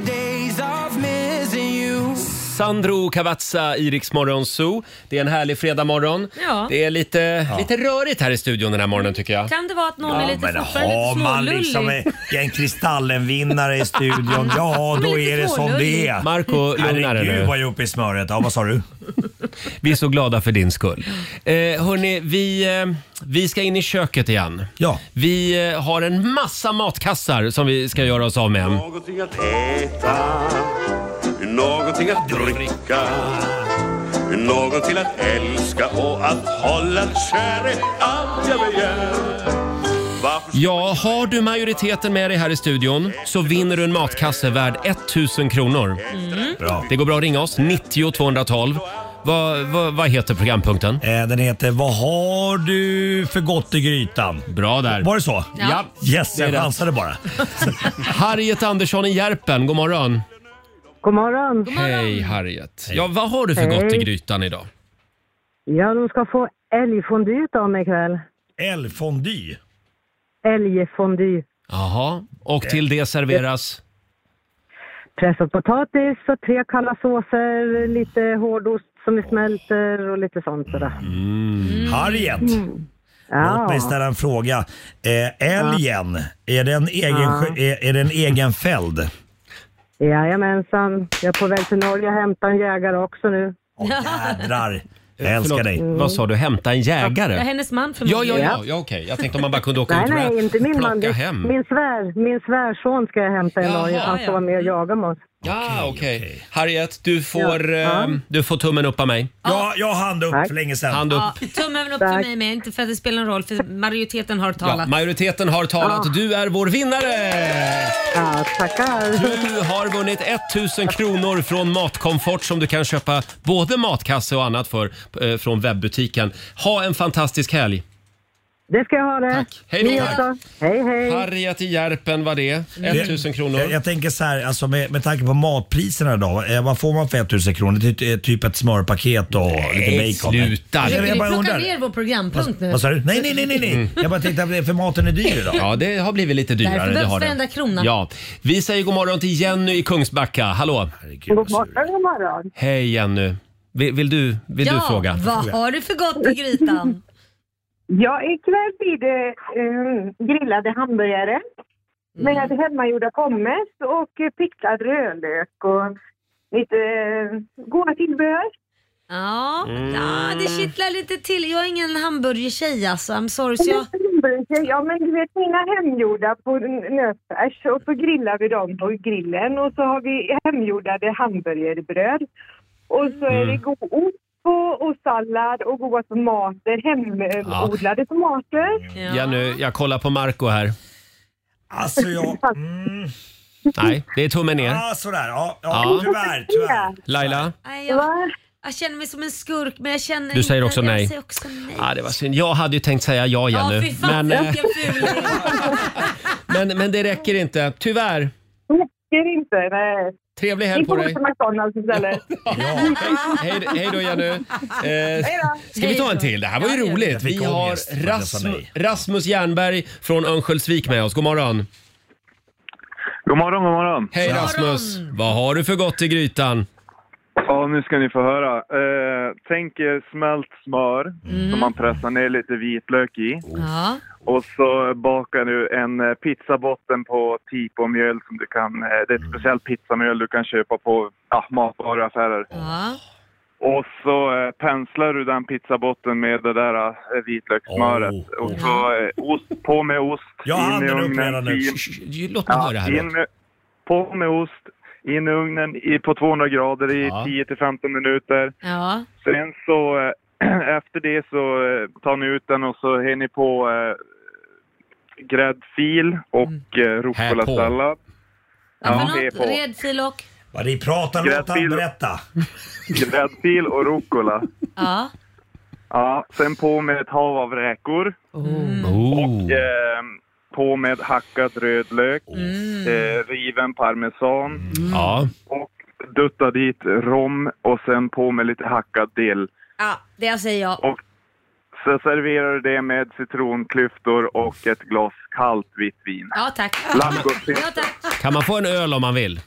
Sandro Cavazza i Rix Morgon Zoo. Det är en härlig fredagmorgon. Ja. Det är lite, lite rörigt här i studion den här morgonen tycker jag. Kan det vara att någon är lite men fortfarande lite har man smålullig? liksom en, en Kristallen-vinnare i studion, ja Men då lite är det som smålullig. det är. Marco, lugna dig nu. Herregud vad jag är uppe i smöret. Ja, vad sa du? Vi är så glada för din skull. Eh, hörni, vi, eh, vi ska in i köket igen. Ja. Vi eh, har en massa matkassar som vi ska göra oss av med. Någonting att äta, någonting att dricka, någon till att älska och att hålla kär är allt jag begär. Ja, har du majoriteten med dig här i studion så vinner du en matkasse värd 1000 kronor. Det går bra att ringa oss, 90 212. Vad, vad, vad heter programpunkten? Eh, Den heter Vad har du för gott i grytan? Bra där. Var det så? Ja. Yes, Det är jag rätt. chansade bara. Harriet Andersson i Järpen, god morgon. God morgon. Hej Harriet. Ja, vad har du för gott i Hej. grytan idag? Ja, de ska få älgfondy utav mig ikväll. Älgfondy? Älgfondy. Jaha, och till Eh. det serveras? Pressad potatis och tre kalla såser, lite hårdost som smälter och lite sånt sådär. Harriet. Mm. Låt mig ställa en fråga. Eh, älgen, är den egen, Ja. är, är den egen fälld? Jajamensan. Jag är på väg till Norge och hämtar en jägare också nu. Jädrar. Jag älskar dig. Eh, Vad sa du, hämta en jägare? Ja, hennes man Ja, förmodligen. ja, ja, ja okej. Jag tänkte om man bara kunde åka Nej, ut och nej, bara inte min man. plocka Det- hem. Min, svär, min svärson ska jag hämta i Jaha, Norge. Han ska ja. vara med och jaga med oss. Ja, okej. Harriet, du får, Ja. eh, du får tummen upp av mig. Ja, jag hand upp för länge sedan. Hand upp. Ja, tummen upp till mig med, inte för att det spelar någon roll för majoriteten har Ja, talat. majoriteten har talat. Ja. Du är vår vinnare! Ja, tackar. Du har vunnit 1000 kronor från Matkomfort som du kan köpa både matkasse och annat för eh, från webbutiken. Ha en fantastisk helg! Det ska jag ha det. Tack. Hej då. Hej, hej. Harriet i Järpen var det. 1000 kronor. Jag, jag tänker så här, alltså med, med tanke på matpriserna idag. Eh, vad får man för 1000 kronor? Ty, ty- typ ett smörpaket och Nej, lite bacon. sluta. Jag, jag bara Plocka undrar. ner vår programpunkt nu. Mm. Vad sa du? Nej, nej, nej, nej. nej. Mm. Jag bara tänkte, att- för maten är dyr idag. Mm. Ja, det har blivit lite dyrare. Därför det behövs har det. varenda krona. Ja. Vi säger god morgon till Jenny i Kungsbacka. Hallå! God alltså. morgon, god morgon. Hej Jenny! Vill, vill, du, vill du ja, fråga? vad har du för gott i grytan? Ja, ikväll blir det eh, grillade hamburgare med Mm. hemmagjorda pommes och eh, pickad rödlök och lite eh, goda tillbehör. Ja, ja, det Mm. kittlar lite till. Jag är ingen hamburgertjej alltså. I'm sorry. Så jag... Ja, men du vet mina hemgjorda på n- nötfärs och så grillar vi dem på grillen och så har vi hemgjordade hamburgerbröd. Och så är det Mm. god ost på och sallad och goda tomater, hemodlade tomater. Jenny, jag kollar på Marco här. Alltså jag... Nej, det är tummen ner. Ja, sådär. Ja, ja, Ja. tyvärr. tyvärr. Laila? Nej, jag... jag känner mig som en skurk men jag känner Du säger inte- också nej. Jag säger också nej. Ja, det var synd. Jag hade ju tänkt säga ja, Ja, Jenny. fy fan men, eh, vilken fuling. men, men det räcker inte. Tyvärr. Räcker inte, nej. Trevlig Vi helg på får gå dig. till McDonalds istället. Hej, hej då Jenny. Eh, Hej då. ska vi ta en till? Det här var ju roligt. Vi har Rasm Rasmus Jernberg från Örnsköldsvik med oss. God morgon. God morgon, god morgon. Hej Rasmus. Vad har du för gott i grytan? Ja, nu ska ni få höra. Eh, tänk er smält smör Mm. som man pressar ner lite vitlök i. Oh. Ja. Och så bakar du en eh, pizzabotten på tiponmjöl som du kan... Eh, det är ett speciellt pizzamjöl du kan köpa på ja, matvaruaffärer. Ja. Och så eh, penslar du den pizzabotten med det där eh, vitlökssmöret. Och så eh, ost, på med ost, Jag har in i Oh. handen upp ugnen. redan nu. i- Sh, sh, sh, låt mig höra här, in låt. med, på med ost, in i ugnen i, på 200 grader i 10 till 15 minuter. Ja. Sen så eh, efter det så eh, tar ni ut den och så häller ni på eh, gräddfil och eh, rucola-sallad. Ja, här för något, redfil och... Vad ni pratar om, låt han berätta. Gräddfil och rucola. Ja. Ja, sen på med ett hav av räkor. Oh. Mm. Oh. Och eh, på med hackad rödlök, Mm. eh, riven parmesan och dutta dit rom och sen på med lite hackad dill. ja, det säger jag. Så serverar du det med citronklyftor och ett glas kallt vitt vin. Ja tack. Lack och Ja, tack. Kan man få en öl om man vill?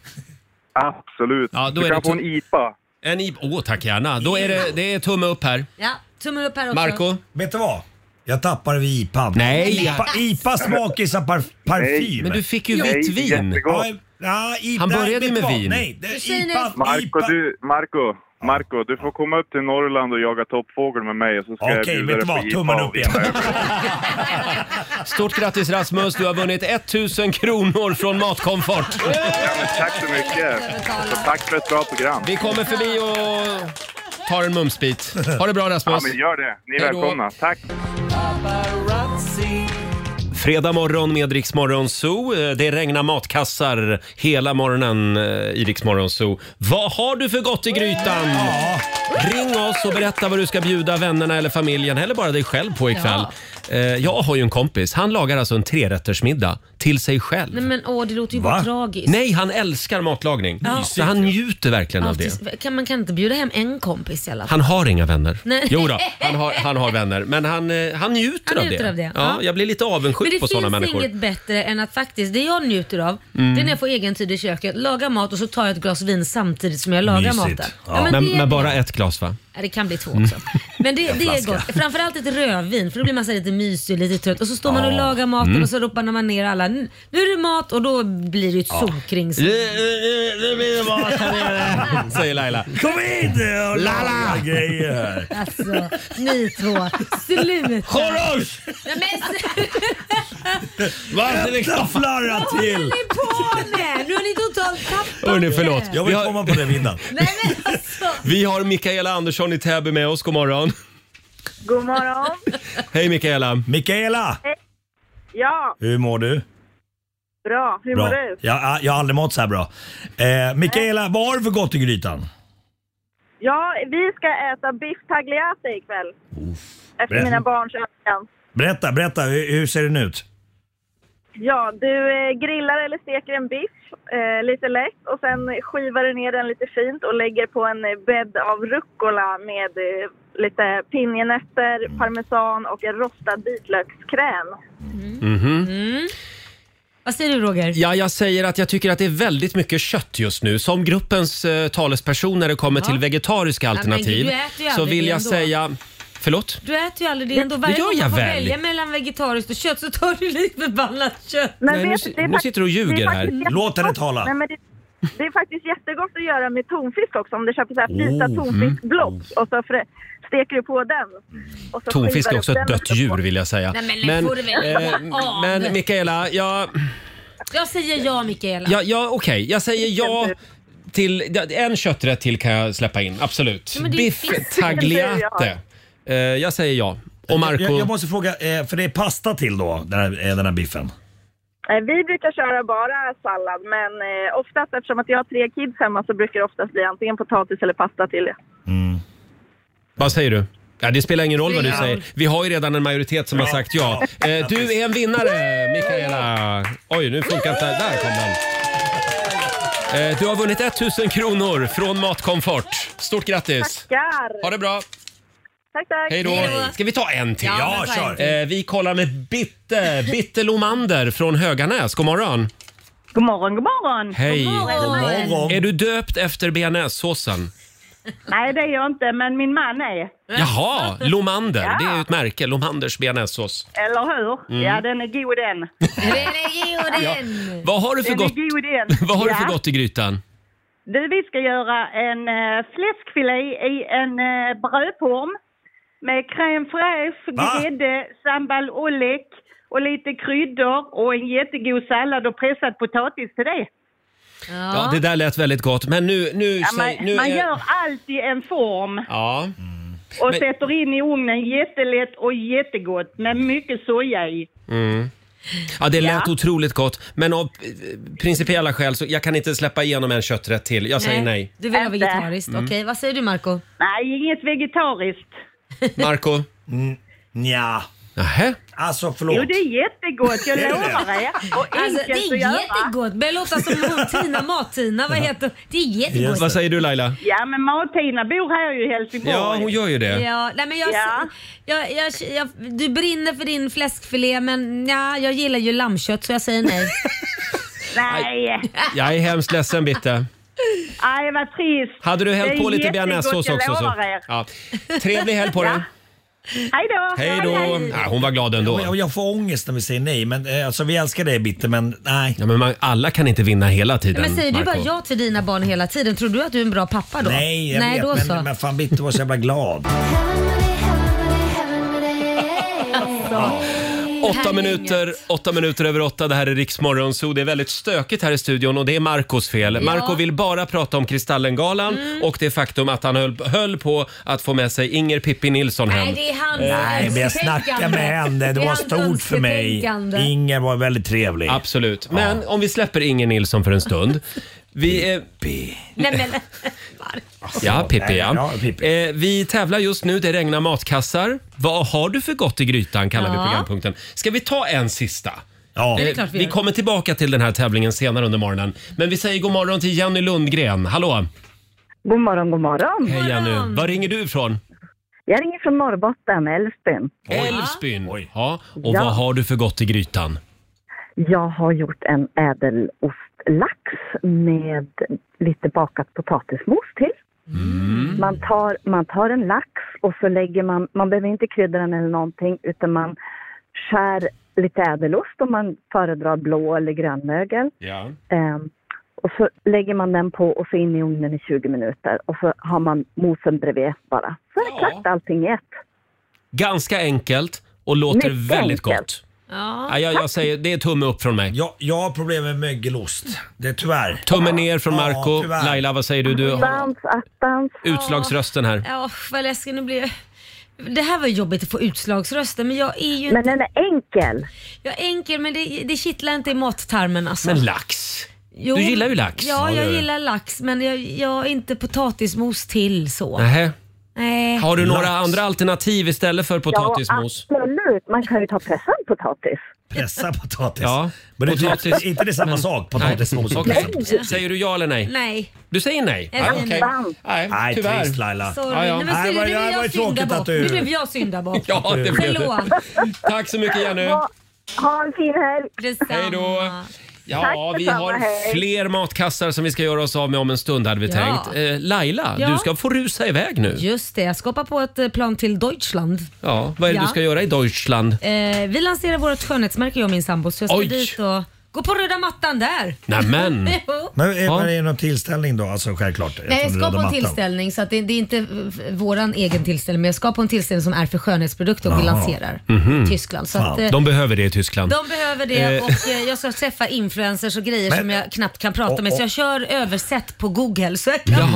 Absolut. Ja, då Du är kan det få en typ- IPA. En IPA? Åh, tack gärna. Då är det, det är tumme upp här. Ja, tummen upp här också. Marco? Vet du vad? Jag tappade vid IPA. Nej. IPA, IPA smakisar par, parfym. Men du fick ju Nej, vitt vin. jättegott. Ja, ja, IPA, Han började vet med vad? vin. Nej, det, IPA, Marco, du, Marco, Marco, du får komma upp till Norrland och jaga toppfågel med mig och så ska jag Okej, bjuda dig vet du på vad? IPA Tummen och upp igen. Stort grattis Rasmus, du har vunnit 1000 kronor från Matkomfort. Ja, men tack så mycket. Så tack för ett bra program. Vi kommer förbi och tar en mumsbit. Ha det bra Rasmus. Ja, men gör det. Ni är Hej då. välkomna. Tack. Fredag morgon med Rix Morgon Zoo. Eh, Det regnar matkassar hela morgonen eh, i Rix Morgon Zoo. Vad har du för gott i grytan? Ring oss och berätta vad du ska bjuda vännerna eller familjen eller bara dig själv på ikväll. Eh, Jag har ju en kompis. Han lagar alltså en trerättersmiddag till sig själv. Nej men åh, det låter ju bara tragiskt. Nej, han älskar matlagning. Ja. Så han njuter verkligen av det. Alltid, kan, man kan inte bjuda hem en kompis i alla fall. Han har inga vänner. Nej. Jo då, han har, han har vänner. Men han, eh, han njuter, Han njuter av av det, det. Ja, ja. jag blir lite Men det avundsjuk på sådana finns människor. inget bättre än att faktiskt, det jag njuter av, Mm. det är när jag får egen tid i köket, laga mat och så tar jag ett glas vin samtidigt som jag lagar maten. Ja. men, men, det, men bara ett glas va? Ja, det kan bli två också. Men det, det är Mm. flaska. gott. Framförallt ett rödvin för då blir man så här lite mysig och lite trött. Och så står man och Ja. lagar maten Mm. och så ropar man ner alla. Nu nu är det mat och då blir det ju ett Ja. solkring. Nu blir det mat här nere, säger Laila. Kom hit och Lala! grejer. Alltså, ni två. Sluta. Chorus! Nej, men, Varför det Vänta, flarra till! ni på med? Nu har ni totalt tappat Hörni, förlåt. det. Jag vill komma på det vinnaren. Vi har Mikaela Andersson i Täby med oss. God morgon. God morgon. Hej Mikaela. Mikaela! Ja, Hur mår du? bra. Hur mår du? Jag, jag har aldrig mått så här bra. Eh, Mikaela, vad har du för gott i grytan? Ja, vi ska äta biff tagliate ikväll. Efter Berätta. mina barns önskan. Berätta, berätta. Hur, hur ser den ut? Ja, du eh, grillar eller steker en biff eh, lite lätt och sen skivar du ner den lite fint och lägger på en eh, bädd av rucola med eh, lite pinjenötter, parmesan och en rostad vitlökskräm. Mm. Vad säger du Roger? Mhm. Ja, jag säger att jag tycker att det är väldigt mycket kött just nu. Som gruppens eh, talesperson när det kommer Ja. till vegetariska Ja, men alternativ du äter ju så aldrig vill det jag ändå. säga... Förlåt? Du äter ju aldrig det Men ändå. det Varje gör gång jag man får väl. välja mellan vegetariskt och kött så tar du lite förbannat kött. Men vet du, det är fakt- det är faktiskt jättegott. Nej, men det, det är faktiskt jättegott att göra med tonfisk också. Om du köper så här frysta Oh, tonfiskblock och så frä, steker du på den. Och så skivar Tonfisk är du också den ett dött lite djur på. vill jag säga. eh, Nej, men nu får du väl komma av. men Mikaela, jag... Jag säger ja Mikaela. Ja, ja okej. Jag säger ja till... ja, En kötträtt till kan jag släppa in, absolut. Ja, men det är Biff fisk. tagliate. Eh, jag säger ja. Och Marco... Jag, jag måste fråga, eh, för det är pasta till då, den här, eh, den här biffen? Eh, Vi brukar köra bara sallad, men eh, oftast eftersom att jag har tre kids hemma så brukar det oftast bli antingen potatis eller pasta till det. Mm. Vad säger du? Ja, det spelar ingen roll vad du Spelar ingen säger. Vi har ju redan en majoritet som har sagt ja. Eh, du är en vinnare, Mikaela. Oj, nu funkar inte... Där kom den. Eh, Du har vunnit 1000 kronor från Matkomfort. Stort grattis! Tackar! Ha det bra! Tack, tack! Hej då! Ska vi ta en till? Ja, Ja, men ta en kör. till. Eh, Vi kollar med Bitte, Bitte Lomander från Höganäs. God morgon! God morgon, god morgon! Hej! Hej. Är du döpt efter bearnaisesåsen? Nej, det är jag inte, men min man är. Jaha, Lomander. Ja. Det är ju ett märke. Lomanders bearnaisesås. Eller hur? Mm. Ja, den är god den. Den är god den! Vad har du för den gott- Är god, den. Vad har du för Ja. gott i grytan? Du, vi ska göra en eh, fläskfilé i en eh, brödform med crème fraîche, Va? grädde, sambal oljek och lite kryddor och en jättegod sallad och pressad potatis till det. Ja. det där lät väldigt gott. Men nu... nu, Ja, man, säg, nu man är- gör allt i en form Ja. och Men- sätter in i ugnen jättelätt och jättegott med mycket soja i. Mm. Ja, det lät Ja. otroligt gott. Men av eh, principiella skäl så jag kan inte släppa igenom en kötträtt till. Jag säger nej. Du vill ha Inte. vegetariskt. Mm. Okej, vad säger du Marco? Nej, inget vegetariskt. Marco? Mm, Nja. Nähä? Alltså förlåt. Jo, det är jättegott, jag Är det det? lovar er. Och Alltså, det enkelt är att göra. jättegott. Börjar låta som hon Tina Mat-Tina. Vad heter Det är jättegott. Vad säger du Laila? Ja, men Martina bor här ju i Helsingborg. Ja, hon gör ju det. Ja, nej men jag, jag, jag, jag, du brinner för din fläskfilé men ja, jag gillar ju lammkött så jag säger nej. Nej. Jag är hemskt ledsen Bitte. Nej, vad trist. Hade du Det hällt är på lite jättegott, bearnaisesås jag också så... lovar er. Ja. Trevlig helg på dig. Hej då! Hej då! Ja, hon var glad ändå. Jag, jag får ångest när vi säger nej, men eh, alltså, vi älskar dig Bitte, men nej. Ja, men man, alla kan inte vinna hela tiden. men säger du bara Marco. ja till dina barn hela tiden, tror du att du är en bra pappa då? Nej, jag nej, vet, då men, så. men fan Bitte var så jävla glad. Åtta minuter, åtta minuter över åtta. Det här är Riksmorgon Zoo. Det är väldigt stökigt här i studion och det är Marcos fel. Ja. Marco vill bara prata om Kristallengalan Mm. och det faktum att han höll, höll på att få med sig Inger Pippi Nilsson hem. Eh, Nej, det är hans Nej, men jag önsketänkande. snackade med henne. Det är var hans stort för mig. önsketänkande. Inger var väldigt trevlig. Absolut. Men om vi släpper Inger Nilsson för en stund. Vi, eh, Nej, men, Alltså, ja, Pippi ja. Ja, Eh, vi tävlar just nu. Det regnar matkassar. Vad har du för gott i grytan kallar Ja. vi programpunkten. Ska vi ta en sista? Eh, Ja. Ja, det är klart vi vi gör. kommer tillbaka till den här tävlingen senare under morgonen. Men vi säger god morgon till Jenny Lundgren. Hallå! God morgon, god morgon. Hej Jenny! Var ringer du ifrån? Jag ringer från Norrbotten, Älvsbyn. Älvsbyn. Ja. Och Ja. vad har du för gott i grytan? Jag har gjort en ädelostlax med lite bakat potatismos till. Mm. Man, tar, man tar en lax och så lägger man, man behöver inte krydda den eller någonting utan man skär lite ädelost om man föredrar blå eller grönmögel. Ja. Ehm, och så lägger man den på och så in i ugnen i 20 minuter och så har man mosen bredvid bara. Så är det klart allting i ett. Ganska enkelt och låter Mycket väldigt enkelt. gott. Ja, jag, jag säger, det är tumme upp från mig. Jag, jag har problem med mögelost. Det är tyvärr. Tumme ner från Ja, Marco. tyvärr. Laila, vad säger du? Du har Dans, attans. utslagsrösten här. ja, vad läskig nu blir jag. Det här var jobbigt att få utslagsrösten men jag är ju Men inte... den är enkel. Jag är enkel men det, det kittlar inte i mattarmen alltså. Men lax. Du gillar ju lax. Ja, Ja, det jag gör du. gillar lax men jag, jag är inte potatismos till så. Nähä. Nej. Har du några andra alternativ istället för potatismos? Ja, absolut. Man kan ju ta pressad potatis. Pressa potatis. Ja, Mm. Men det är inte- inte det samma sak, potatismos och Okej. potatismos. Säger du ja eller nej? Nej. Du säger nej? Jag säger okej. nej. nej. Nej, tyvärr. trist, Laila. Sorry. Ja, ja. Nej, men Nej, skulle vad- du ja, vilja vad tråkigt syndabock? att du- Nu blev jag syndabock. Ja, det blev du. Förlåt. Tack så mycket Jenny. Ha en fin helg. Hej då. Tack Ja, vi detsamma, har hej. fler matkassar som vi ska göra oss av med om en stund hade vi Ja. tänkt. Eh, Laila, Ja. du ska få rusa iväg nu. Just det, jag ska hoppa på ett eh, plan till Deutschland. Ja, vad är det Ja. du ska göra i Deutschland? Eh, vi lanserar vårt skönhetsmärke jag och min sambo så jag ska Oj. dit och gå på röda mattan där. Nämen. Jo. Men är, ja. är det någon tillställning då? Alltså självklart. Nej, jag eftersom ska du på en hade mattan. tillställning, så att det, det är inte eh, våran egen tillställning, men jag ska på en tillställning som är för skönhetsprodukter och vi Jaha. lanserar Mhm. i Tyskland. Så att, eh, De behöver det i Tyskland. de behöver det Eh. och eh, jag ska träffa influencers och grejer Men- som jag knappt kan prata Och- med så och- jag kör översätt på Google. Så jag kan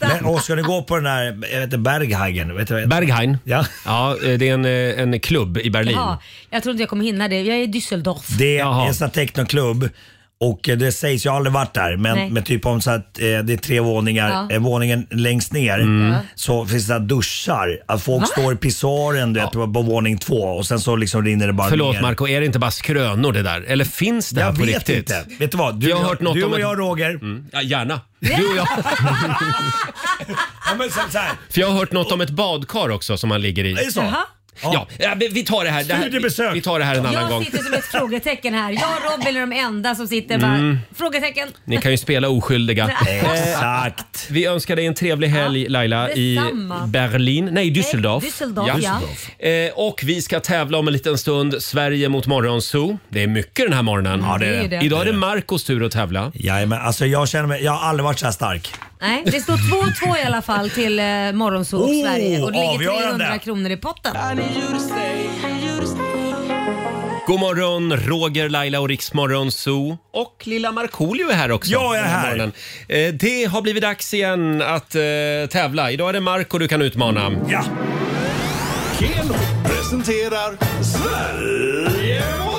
Men, och ska ni gå på den där, jag vet inte, Berghagen? Vet du, vad- Berghain. Ja. ja, eh, det är en, eh, en klubb i Berlin. Jaha, jag tror inte jag kommer hinna det. Jag är i Düsseldorf. Det är en sån här technoklubb. Och eh, det sägs, jag har aldrig varit Nej. där, men, men typ om så att eh, det är tre våningar, Ja. eh, våningen längst ner Mm. så finns det så här duschar. Att folk Va? står i pissoaren du vet, på, på våning två och sen så liksom rinner det bara Förlåt ner. Marco, är det inte bara skrönor det där? Eller finns det här Jag på vet riktigt? inte. Vet du vad? Du, jag och har jag- hört något du om och ett- jag, Roger. Mm. Ja, gärna. Du och jag. ja, men så, så här. För jag har hört något om ett badkar också som man ligger i. Är det så? Jaha. Ja, ja, vi vi tar det här. Det här vi tar det här en annan gång. Jag sitter som ett frågetecken här. Jag och Robin är de enda som sitter bara... Mm. Frågetecken. Ni kan ju spela oskyldiga. Nej. Exakt. Vi önskar dig en trevlig helg Laila i detsamma. Berlin, nej Düsseldorf. Nej, Düsseldorf, Eh, och vi ska tävla om en liten stund. Sverige mot Morgonzoo. Det är mycket den här morgonen. Eh, Ja, det är det. Det är det. Idag är det Marcos tur att tävla. Jajamän, alltså jag känner mig, jag har aldrig varit så här stark. Nej, det står 2-2 i alla fall till eh, Morgonzoo och Oh, Sverige och det ligger avgörande. 300 kronor i potten. God morgon, Roger, Laila och Riksmorgon Zoo. Och lilla Markoolio är här också. Ja, jag är den här. morgonen. Eh, det har blivit dags igen att eh, tävla. Idag är det Marco du kan utmana. Ja. Keno presenterar Sverige mot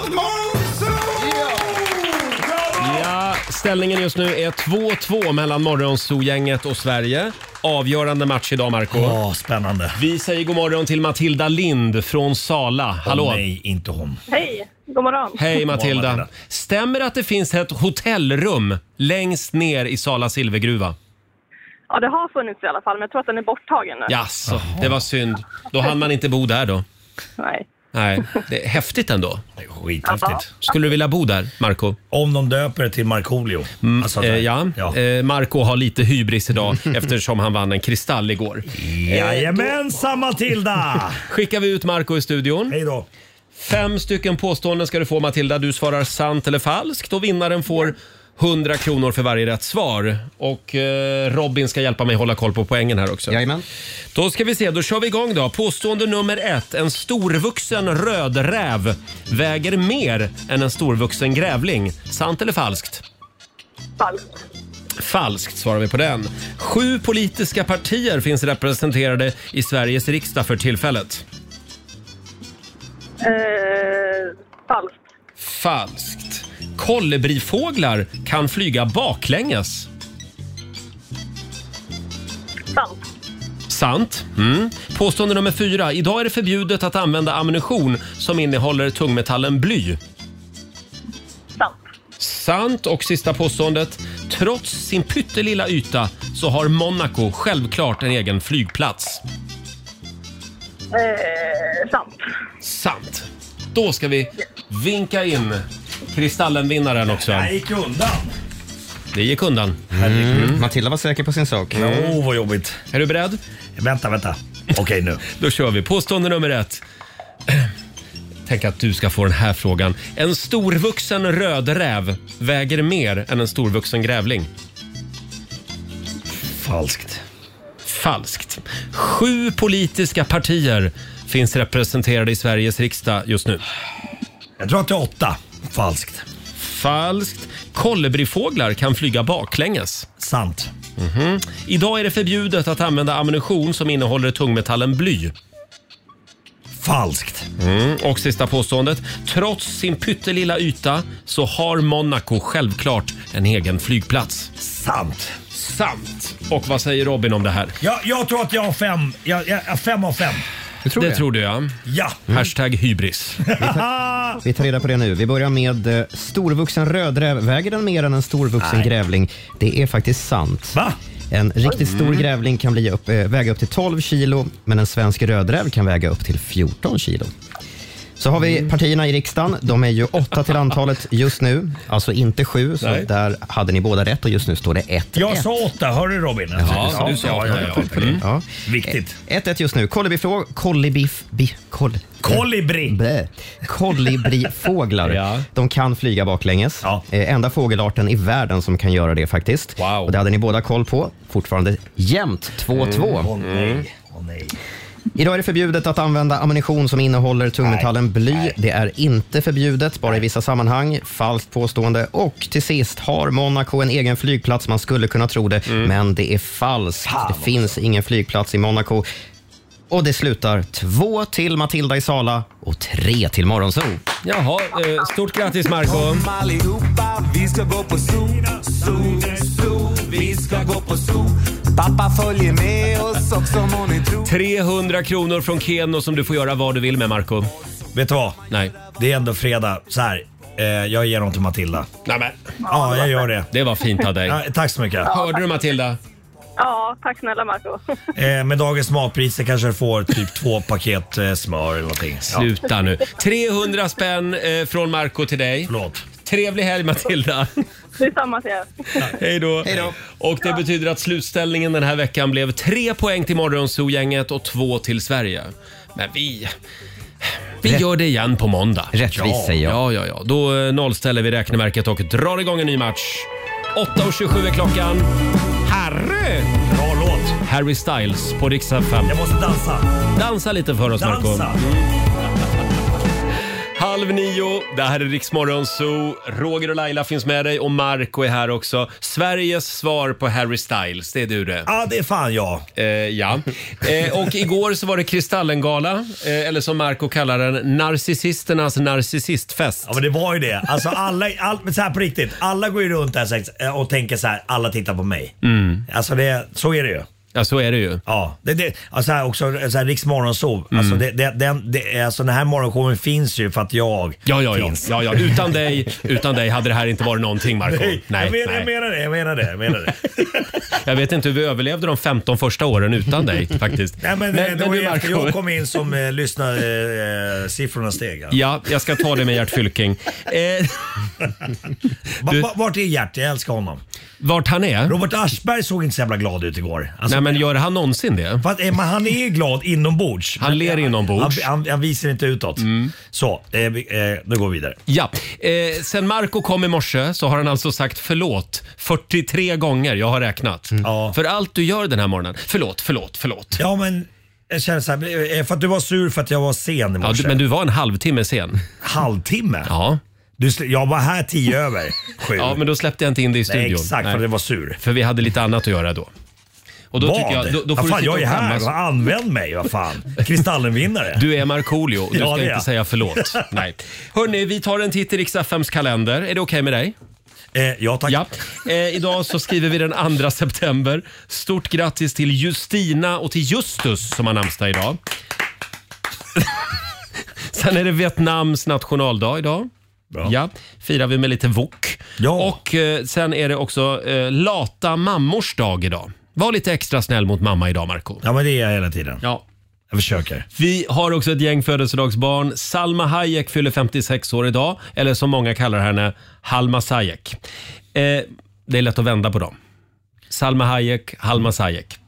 Ja, ställningen just nu är 2-2 mellan Morgonzoo-gänget och Sverige. Avgörande match idag, Marco. Ja, spännande. Vi säger god morgon till Matilda Lind från Sala. Hallå! nej, inte hon. Hej, god morgon. Hej God morgon, Matilda. Matilda. Stämmer det att det finns ett hotellrum längst ner i Sala silvergruva? Ja, det har funnits i alla fall, men jag tror att den är borttagen nu. Jaså, det var synd. Då hann man inte bo där då. Nej. Nej, det är häftigt ändå. Skithäftigt. Skulle du vilja bo där, Marco? Om de döper det till Markoolio. Alltså, Eh, ja, Eh, Marco har lite hybris idag eftersom han vann en kristall igår. Jajamensan Matilda! skickar vi ut Marco i studion. Hej då. Fem stycken påståenden ska du få Matilda. Du svarar sant eller falskt och vinnaren får 100 kronor för varje rätt svar. Och eh, Robin ska hjälpa mig hålla koll på poängen här också. Jajamän. Då ska vi se, då kör vi igång då. Påstående nummer ett. En storvuxen rödräv väger mer än en storvuxen grävling. Sant eller falskt? Falskt. Falskt svarar vi på den. Sju politiska partier finns representerade i Sveriges riksdag för tillfället. Eh, falskt. Falskt. Kolibrifåglar kan flyga baklänges. Sant. Sant. Mm. Påstående nummer fyra. Idag är det förbjudet att använda ammunition som innehåller tungmetallen bly. Sant. Sant. Och sista påståendet. Trots sin pyttelilla yta så har Monaco självklart en egen flygplats. Eh, sant. Sant. Då ska vi vinka in Kristallen-vinnaren också. Jag gick undan. Det gick undan. Mm. Matilda var säker på sin sak. Mm. Åh, vad jobbigt. Är du beredd? Vänta, vänta. Okej nu. Då kör vi. Påstående nummer ett. Tänk att du ska få den här frågan. En storvuxen rödräv väger mer än en storvuxen grävling. Falskt. Falskt. Sju politiska partier finns representerade i Sveriges riksdag just nu. Jag tror att det är åtta. Falskt. Falskt. Kolibrifåglar kan flyga baklänges. Sant. Mhm. Idag är det förbjudet att använda ammunition som innehåller tungmetallen bly. Falskt. Mm. Och sista påståendet. Trots sin pyttelilla yta så har Monaco självklart en egen flygplats. Sant. Sant. Och vad säger Robin om det här? Jag, jag tror att jag har fem. Jag, jag, jag- fem av fem. det tror du ja. Ja. Hashtag hybris. Vi tar reda på det nu. Vi börjar med eh, storvuxen rödräv. Väger den mer än en storvuxen Nej. grävling? Det är faktiskt sant. Va? En riktigt stor Mm. grävling kan bli upp, eh, väga upp till 12 kilo, men en svensk rödräv kan väga upp till 14 kilo. Så har vi partierna i riksdagen. De är ju åtta till antalet just nu, alltså inte sju. Så Nej. där hade ni båda rätt och just nu står det 1-1. Jag sa åtta. Hör du Robin? Ja, du sa åtta, ja. Mm. Ja. Viktigt. 1-1 just nu. Kolibifrå... Kolibif... Bi, kol, Kolibri. Bä. Kolibrifåglar. De kan flyga baklänges. Eh, enda fågelarten i världen som kan göra det faktiskt. Och det hade ni båda koll på. Fortfarande jämnt 2-2. Mm. Mm. Åh Mm. nej. Åh nej. Idag är det förbjudet att använda ammunition som innehåller tungmetallen bly. Det är inte förbjudet, bara i vissa sammanhang. Falskt påstående. Och till sist, har Monaco en egen flygplats? Mm. Man skulle kunna tro det, men det är falskt. det finns ingen flygplats i Monaco. Och det slutar två till Matilda i Sala och tre till Morgonzoo. Jaha, eh, stort grattis Marco Kom allihopa, vi ska gå på zoo, zoo, zoo. Vi ska gå på zoo. Pappa följer med oss också må ni tro. 300 kronor från Keno som du får göra vad du vill med Marco Vet du vad? Nej. Det är ändå fredag. Så här, eh, jag ger dem till Matilda. Nej, men. Ja, jag gör det. Det var fint av dig. Ja, tack så mycket. Hörde du Matilda? Ja, tack snälla Marco. Eh, med dagens matpriser kanske du får typ två paket eh, smör eller någonting. Ja. Sluta nu. 300 spänn eh, från Marco till dig. Förlåt. Trevlig helg Matilda. Detsamma till er. Hej då. Och det betyder att slutställningen den här veckan blev tre poäng till Morgonzoo-gänget och två till Sverige. Men vi... Vi gör det igen på måndag. Rättvis, ja. säger jag. Ja, ja, ja. Då eh, nollställer vi räkneverket och drar igång en ny match. 8.27 är klockan. Harry! Bra låt! Harry Styles på riksdag 5. Jag måste dansa. Dansa lite för oss, Marco. Dansa! Halv nio, det här är Riksmorgon Zoo. Roger och Laila finns med dig och Marco är här också. Sveriges svar på Harry Styles, det är du det. Ja, det är fan jag. Eh, ja. Eh, och igår så var det Kristallengala, eh, eller som Marco kallar den, Narcissisternas narcissistfest. Ja men det var ju det. Alltså alla, all, men så här på riktigt. Alla går ju runt där sex- och tänker så här, alla tittar på mig. Mm. Alltså det, så är det ju. Ja, så är det ju. Mm. Ja, det, det, alltså här också så här, Riks morgonsov. Alltså, det, det, den, det, alltså den här morgonshowen finns ju för att jag Ja, ja, ja. finns. ja, ja. Utan, dig, utan dig hade det här inte varit någonting, Marco. Nej, jag, menar, jag menar det, jag menar det. Jag menar det. Jag vet inte hur vi överlevde de 15 första åren utan dig faktiskt. Nej, men, det var du, ju efter Marco. jag kom in som eh, lyssnarsiffrorna eh, siffrorna steg. alltså. Ja, jag ska ta det med Gert Fylking. Eh, Va- Du- va- Vart är Gert? Jag älskar honom. vart han är? Robert Aschberg såg inte så jävla glad ut igår. Alltså, Nej, men gör han någonsin det? Fast, eh, men han är ju glad inombords. Han ler inombords. Han, han, han visar inte utåt. Så, eh, vi- eh, nu går vi vidare. Ja, eh, sen Marco kom i morse så har han alltså sagt förlåt 43 gånger, jag har räknat. För allt du gör den här morgonen. Förlåt, förlåt, förlåt. Mm. Ja, men jag känner så här, eh, för att du var sur för att jag var sen i Ja, morse. du, men du var en halvtimme sen. Halvtimme? Ja. Du, sl- jag var här tio över sju. Ja, men då släppte jag inte in dig i Nej, studion. exakt, för att jag var sur. För vi hade lite annat att göra då. Och då Vad? tycker jag, då, då får vad fan, du sitta jag är och här. skämmas. Vad Använd mig, vad fan. Kristallenvinnare. Du är Markoolio, du Ja, ska det är inte jag. säga förlåt. Nej. Hörni, vi tar en titt i riks FMs kalender. Är det okej med dig? ja, tack. Ja. Eh, idag så skriver vi den 2 september. Stort grattis till Justina och till Justus som har namnsdag idag. Sen är det Vietnams nationaldag idag. Ja, firar vi med lite wok. Och eh, sen är det också eh, lata mammors dag idag. Var lite extra snäll mot mamma idag, Marco. Ja, men det är jag hela tiden. Ja. Jag försöker. Vi har också ett gäng födelsedagsbarn. Salma Hayek fyller 56 år idag, eller som många kallar henne, Halma Sayek. Eh, det är lätt att vända på dem. Salma Hayek, Halma Sayek.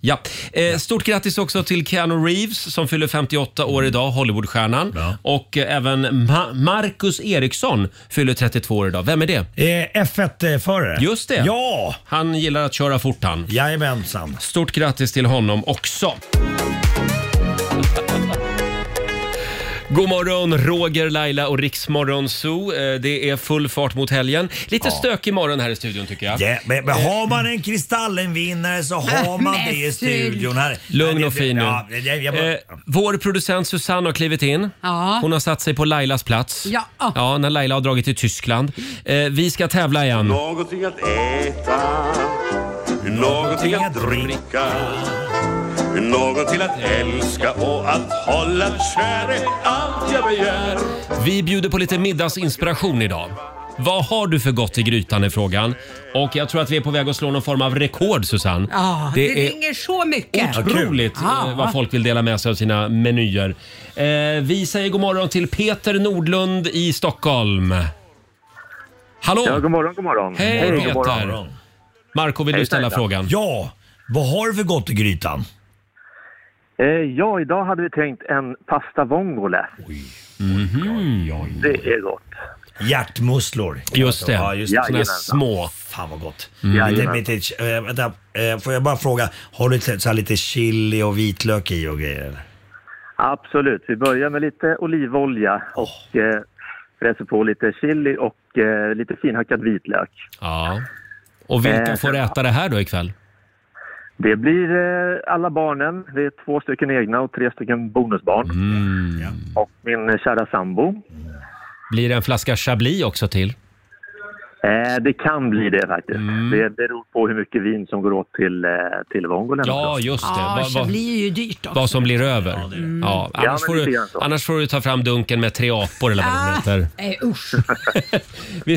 Ja. Eh, stort grattis också till Keanu Reeves som fyller 58 år idag, Hollywoodstjärnan. Och eh, även Ma- Marcus Eriksson fyller 32 år idag. Vem är det? Eh, F1-förare. Just det. Ja! Han gillar att köra fort han. Jajamensan. Stort grattis till honom också. God morgon, Roger, Laila och Riksmorgon Zoo. Eh, Det är full fart mot helgen. Lite stök imorgon här i studion tycker jag. Ja, men, men har man en Kristallenvinnare så har man det i studion. Här. Lugn och fin nu. Ja, det- jag, jag, bara- Eh, vår producent Susanne har klivit in. Ja. Hon har satt sig på Lailas plats. Ja. Ja, när Laila har dragit till Tyskland. Eh, vi ska tävla igen. Någonting att äta, någonting att dricka, någon till att älska och att hålla kär är allt jag begär. Vi bjuder på lite middagsinspiration idag. Vad har du för gott i grytan är frågan. Och jag tror att vi är på väg att slå någon form av rekord Susanne. Ja, det, det, är ringer så mycket. otroligt Ja. eh, vad folk vill dela med sig av sina menyer. Eh, vi säger god morgon till Peter Nordlund i Stockholm. Hallå! Ja, god morgon, god morgon. Hej Hej, god Peter! morgon. Marco, vill du Hej, ställa Laila. frågan? Ja, vad har du för gott i grytan? Eh, ja, idag hade vi tänkt en pasta vongole. Mhm. Det är gott. Hjärtmusslor. Just det. Ja, just det. Såna här små. Fan vad gott. Mm. Lite, lite, eh, vänta, eh, får jag bara fråga, har du lite, så här lite chili och vitlök i och grejer? Absolut. Vi börjar med lite olivolja och eh, fräser på lite chili och eh, lite finhackad vitlök. Ja. Och vilka Eh, får äta det här då ikväll? Det blir eh, alla barnen. Det är två stycken egna och tre stycken bonusbarn. Mm. Och min eh, kära sambo. Blir det en flaska Chablis också till? Eh, det kan bli det faktiskt. Mm. Det beror på hur mycket vin som går åt till, eh, till vongolen. Ja, just det. Ja, Vad- vad- det blir ju dyrt också. Vad som blir över. Ja, Ja, annars, men får lite du, grann så. annars får du ta fram dunken med tre apor eller vad Ah. det heter. eh, Nej, usch. Vi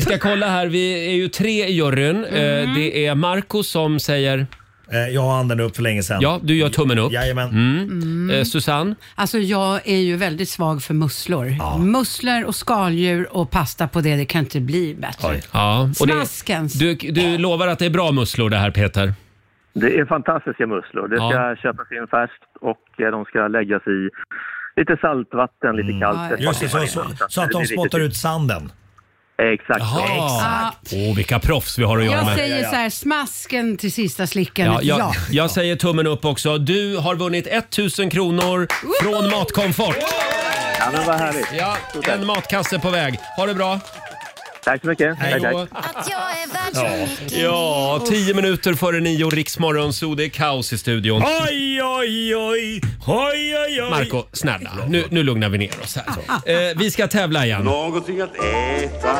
ska kolla här. Vi är ju tre i juryn. Mm. Eh, Det är Marco som säger... Eh, Jag har handen upp för länge sedan. Ja, du gör tummen upp. Jajamän. Mm. Eh, Susanne? Alltså jag är ju väldigt svag för musslor. Musslor och skaldjur och pasta på det, det kan inte bli bättre. Ja, och det, Snaskens. du, du lovar att det är bra musslor det här Peter? Det är fantastiska musslor. Det ska köpas in färskt och eh, de ska läggas i lite saltvatten, lite kallt. ett par Just det, timmar så, så, innan. så att det de blir spottar ut sanden. Exakt. Jaha. Exakt. Åh, vilka proffs vi har att göra Jag med. säger så här, smasken till sista slicken. Ja, Ja, jag, jag säger tummen upp också. Du har vunnit 1000 kronor från Matkomfort. Ja, men vad härligt. Ja, en matkasse på väg. Ha det bra. Tack så mycket. Hej då. er Ja. ja, tio minuter före nio, Riksmorgon, så det är kaos i studion. Oj, oj, oj. Oj, oj, Ah, oj. Marco, snälla, nu, nu lugnar vi ner oss här. Eh, vi ska tävla igen. Någonting att äta,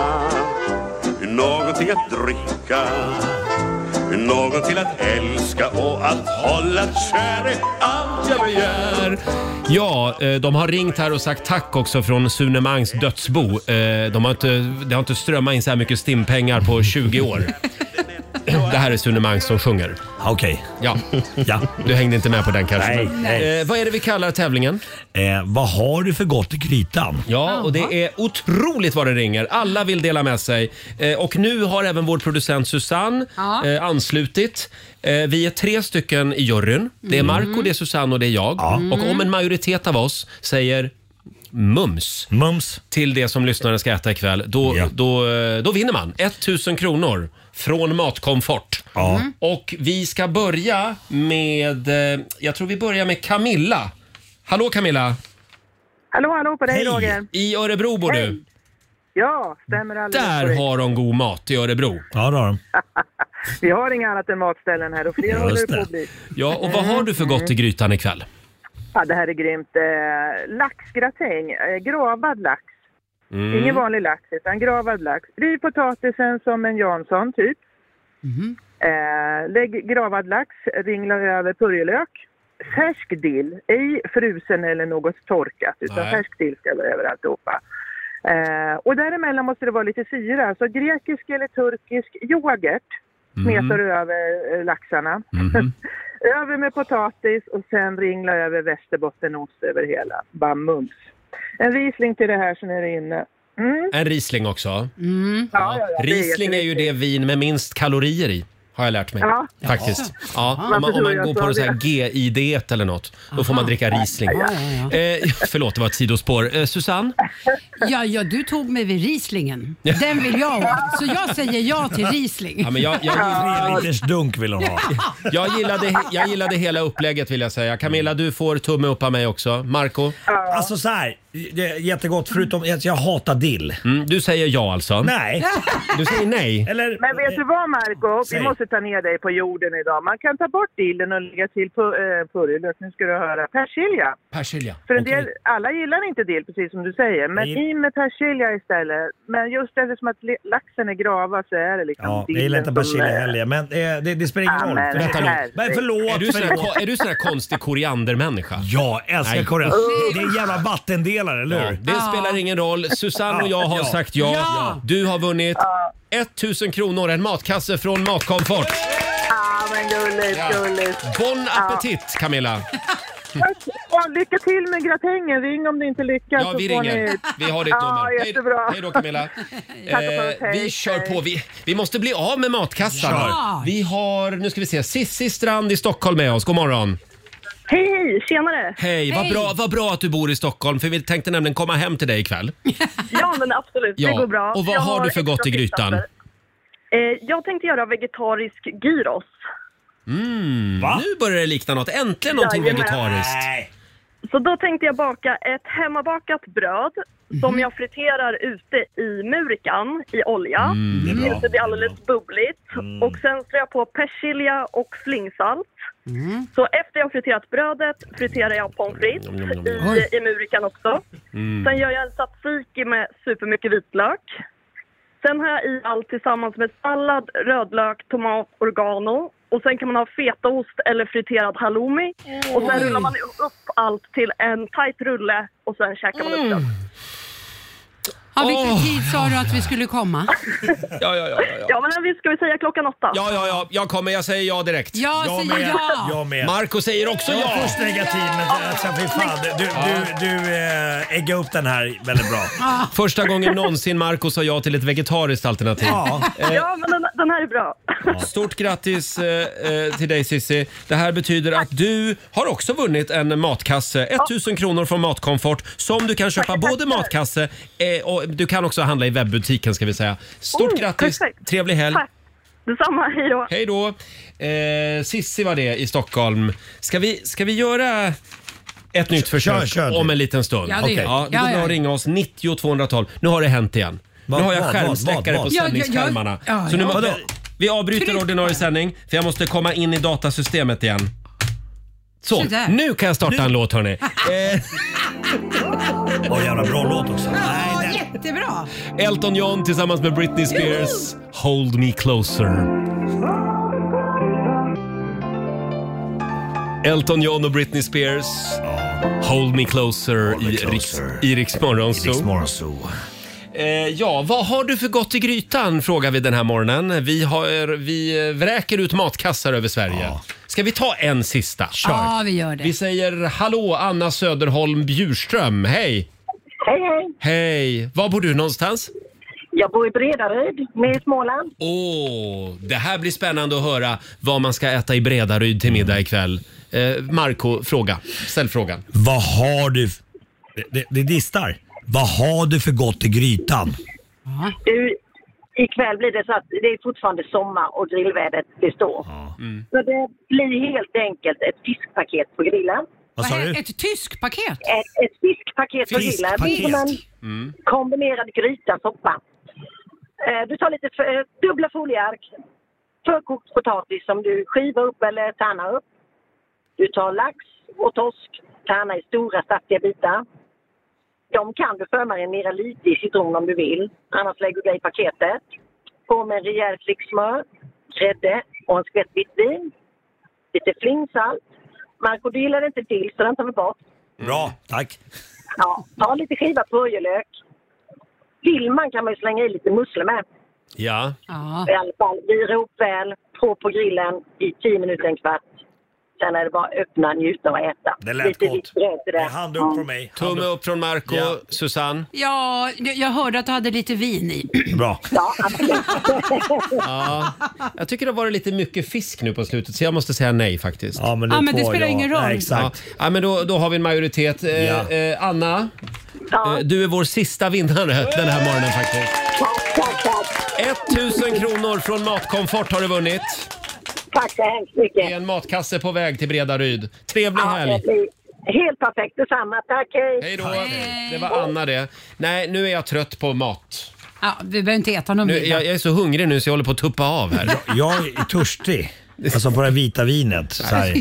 någonting att dricka Någon till att älska och att hålla kär är allt jag begär Ja, eh, de har ringt här och sagt tack också från Sunemangs dödsbo. Eh, De har inte, det har inte strömmat in så här mycket stimpengar på 20 år. Det här är Sunemang som sjunger. Okej. Ja. ja. Du hängde inte med på den kanske? Nej, men- nej. Eh, vad är det vi kallar tävlingen? Eh, vad har du för gott i grytan? Ja, och det är otroligt vad det ringer. Alla vill dela med sig. Eh, och nu har även vår producent Susanne Ja. eh, anslutit. Eh, vi är tre stycken i juryn. Det är Marco, det är Susanne och det är jag. Och om en majoritet av oss säger Mums. Mums. Till det som lyssnaren ska äta ikväll. Då, då, eh, då vinner man 1000 kronor från Matkomfort. Mm. Och vi ska börja med, eh, jag tror vi börjar med Camilla. Hallå Camilla! Hallå, hallå på dig Hej. Roger. I Örebro bor du. Hej. Ja, stämmer alldeles Där korrekt. har de god mat i Örebro. Ja, det har de. Vi har inga annat än matställen här och flera Just håller det på det. att bli. Mm. Ja, och vad har du för gott i grytan ikväll? Ja, det här är grymt. Eh, laxgratäng, eh, gravad lax. Mm. Ingen vanlig lax, utan gravad lax. Riv potatisen som en Jansson, typ. Eh, lägg gravad lax, ringla över purjolök. Färsk dill, ej frusen eller något torkat, utan Nej. färsk dill ska vara över alltihopa. Eh, och däremellan måste det vara lite syra, så grekisk eller turkisk yoghurt smetar du över eh, laxarna. över med potatis och sen ringla över västerbottenost över hela. Bara mums. En risling till det här så är det inne. Mm. En Riesling också. Ja, ja, ja, det är Riesling är ju det vin med minst kalorier i. Har jag lärt mig. Ja. Faktiskt. Ja, om man, Varför om tror man jag går sa på någon det? sån här GI-diet eller något, då får man dricka Riesling. Eh, förlåt, det var ett sidospår. Eh, Susanne? ja, ja, du tog mig vid Rieslingen. Den vill jag ha. Så jag säger ja till Riesling. Ja, men jag, jag, Tre liters dunk vill hon ha. jag, gillade, jag gillade hela upplägget vill jag säga. Camilla, du får tumme upp av mig också. Marco? Alltså så här, det är jättegott förutom att jag hatar dill. Mm, du säger ja alltså? Nej. Du säger nej? Men vet du vad Marco? Säg. Vi måste ta ner dig på jorden idag. Man kan ta bort dillen och lägga till pu- eh, purjolök. Nu ska du höra. Persilja. Persilja. För en del, alla gillar inte dill precis som du säger. Men Jag gill- i med persilja istället. Men just eftersom att le- laxen är gravad så är det liksom Ja, jag dillen gillar inte som, persilja eh, heller, men eh, det, det spelar ingen Ja, roll. men Förlåt, herregud. men förlåt. Är du sån här, förlåt. är du sån här konstig koriandermänniska? Ja, jag älskar Nej. korrekt. Det är en jävla vattendelare, eller Ja, hur? det spelar ingen roll. Susanne och jag har Ja. sagt ja. Ja. Du har vunnit 1000 kronor, en matkasse från Matkomfort. Ja, men gulligt, gulligt. Bon appetit Camilla! Ja, lycka till med gratängen. Ring om du inte lyckas. Ja, vi så får ringer. Ni... Vi har ditt nummer. Ja, Hej- jättebra. Hej då Camilla. Tack och förlåt, Eh, vi hej. kör på. Vi, vi måste bli av med matkassan. Ja. Vi har, nu ska vi se, Sissi Strand i Stockholm med oss. God morgon. Hej, hej! Tjenare! Hej, vad bra, vad bra att du bor i Stockholm för vi tänkte nämligen komma hem till dig ikväll. Ja, men absolut. Ja, Det går bra. och vad har du för extra gott i grytan? tillsatser. Eh, jag tänkte göra vegetarisk gyros. Mm, nu börjar det likna något. Äntligen någonting Jajamän. vegetariskt. Så då tänkte jag baka ett hemmabakat bröd som Mhm. jag friterar ute i murikan i olja. Mm, det är det bra. inte blir alldeles bubbligt. Och sen strör jag på persilja och flingsalt. Så efter jag friterat brödet friterar jag pommes frites Mm, mm, mm, mm. i, i murikan också. Mm. Sen gör jag en tzatziki med supermycket vitlök. Sen har jag i allt tillsammans med sallad, rödlök, tomat, oregano. Och sen kan man ha fetaost eller friterad halloumi. Och sen Oj. rullar man upp allt till en tajt rulle och sen käkar man upp den. Ja, vilken tid sa du att vi skulle komma? Ja, ja, ja. ja. Ja, men vi ska vi säga klockan åtta? Ja, ja, ja. Jag kommer. Jag säger ja direkt. Jag Jag säger med. ja. Jag med. Marco säger också Jag ja. var först negativ, men sen fy fan. Du, du, du eh, ägga upp den här väldigt bra. Första gången någonsin Marco sa ja till ett vegetariskt alternativ. Eh, Ja, men den, den här är bra. Stort grattis eh, eh, till dig Sissi. Det här betyder att du har också vunnit en matkasse. 1000 kronor från Matkomfort som du kan köpa både matkasse eh, och du kan också handla i webbutiken ska vi säga. Stort Oh, grattis, perfekt. trevlig helg. Tack. Detsamma, hej då. Hej då. Eh, Sissi var det i Stockholm. Ska vi, ska vi göra ett nytt försök om en liten stund? Ja, det gör vi. Ja, det Ja, går ja, bra ja. att ringa oss 90 212. Nu har det hänt igen. Vad- nu har jag vad- vad- vad- skärmsläckare på vad? Ja, ja, ja. sändningsskärmarna. Ja, Så nu ja. måste, Vadå? vi avbryter ordinarie sändning för jag måste komma in i datasystemet igen. Så, Sådär. nu kan jag starta en låt hörni. Eh. Åh, jävla bra låt också. Ja, jättebra! Elton John tillsammans med Britney Spears, Hold Me Closer. Elton John och Britney Spears, Hold Me Closer i Riks- i Riks Morgonzoo. Eh, ja, vad har du för gott i grytan frågar vi den här morgonen. Vi, har, vi eh, vräker ut matkassar över Sverige. Ska vi ta en sista? Kör. Ja, vi gör det. Vi säger hallå Anna Söderholm Bjurström, hej! Hej, hej. Hej! Var bor du någonstans? Jag bor i Bredaryd, med i Småland. Åh, det här blir spännande att höra vad man ska äta i Bredaryd till middag ikväll. Eh, Marco, fråga. Ställ frågan. Vad har du... f- Det, det, det distar. Vad har du för gott i grytan? Du, ikväll blir det så att det är fortfarande sommar och grillvädret består. Mm. Så det blir helt enkelt ett fiskpaket på grillen. Vad sa du? Ett tyskt paket? Ett, ett fiskpaket på grillen. Det Fiskpaket. Mm. är som en Mm. kombinerad grytasoppa. Eh, Du tar lite eh, dubbla folieark, förkokt potatis som du skivar upp eller tärnar upp. Du tar lax och torsk, tärna i stora saftiga bitar. De kan du förmarinera lite i citron om du vill, annars lägger du det i paketet. På med en rejäl flick smör, grädde och en skvätt vitt vin. Lite flingsalt. Marco, du gillar inte dill så den tar vi bort. Bra, tack. Ja, ta lite skivad purjolök. Vill man kan man ju slänga i lite musslor med. Ja. I alla fall, vira upp väl, på på grillen i 10 minuter, en kvart. Sen är det bara att öppna, njuta och äta. Det lät lite gott. vitt bröd till det. Hand Ja. mig. Tumme upp från Marco. Susanne? Ja, jag jag hörde att du hade lite vin i. Bra. Ja, absolut. Ja, jag tycker det har varit lite mycket fisk nu på slutet så jag måste säga nej faktiskt. Ja men det Ja, men det två spelar ja. ingen roll. Nej, exakt. Ja, men då, då har vi en majoritet. Eh, Ja. eh, Anna, eh, du är vår sista vinnare den här morgonen faktiskt. 1000 kronor från Matkomfort har du vunnit. Tack så hemskt mycket. Det är en matkasse på väg till Bredaryd. Trevlig helg! det blir Helt perfekt, detsamma. Tack, hej. Hej då. Det var Anna det. Nej, nu är jag trött på mat. Ja, vi behöver inte äta någon Nu, middag. jag, jag är så hungrig nu så jag håller på att tuppa av här. Jag är törstig. Alltså på det här vita vinet. Så här.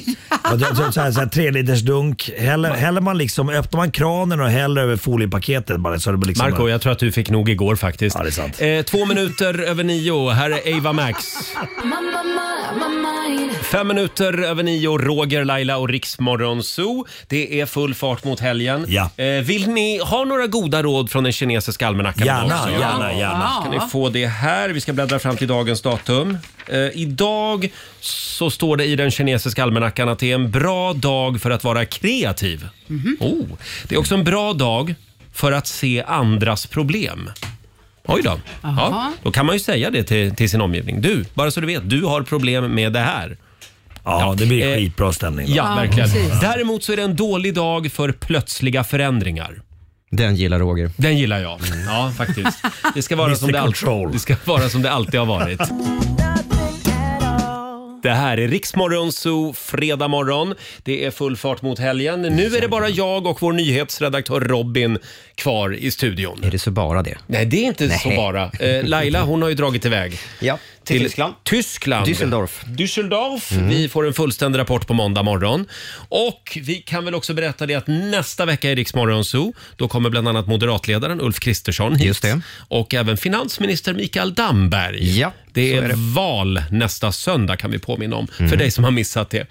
Och det- så så här, så här, tre liters dunk. Häller, häller man liksom, öppnar man kranen och häller över foliepaketet bara så det blir liksom... Marco, jag tror att du fick nog igår faktiskt. Ja, det är sant. Eh, två minuter över nio. Här är Ava Max. Fem minuter över nio, Roger, Laila och Riksmorgon Zoo. Det är full fart mot helgen. Ja. Eh, vill ni ha några goda råd från den kinesiska almanackan? Gärna, också? gärna, gärna. Ska ni få det här. Vi ska bläddra fram till dagens datum. Eh, idag så står det i den kinesiska almanackan att det är en bra dag för att vara kreativ. Oh. Det är också en bra dag för att se andras problem. Oj då. Ja, Jaha. då kan man ju säga det till, till sin omgivning. Du, bara så du vet, du har problem med det här. Eh, Ja, det blir skitbra stämning. Ja, Ja, verkligen. precis. Däremot så är det en dålig dag för plötsliga förändringar. Den gillar Roger. Den gillar jag. Ja, faktiskt. Det ska vara, som det, alltid, det ska vara som det alltid har varit. Det här är Riksmorgon Zoo, fredag morgon. Det är full fart mot helgen. Nu är det bara jag och vår nyhetsredaktör Robin kvar i studion. Är det så bara det? Nej, det är inte Nej. så bara. Eh, Laila, hon har ju dragit iväg. Ja, till Tyskland. Tyskland. Düsseldorf. Düsseldorf. Mm. Vi får en fullständig rapport på måndag morgon. Och vi kan väl också berätta det att nästa vecka i Riksmorgon Zoo, då kommer bland annat moderatledaren Ulf Kristersson hit. Just det. Och även finansminister Mikael Damberg. Ja, det Mm. är, val nästa söndag kan vi påminna om, för dig som har missat det.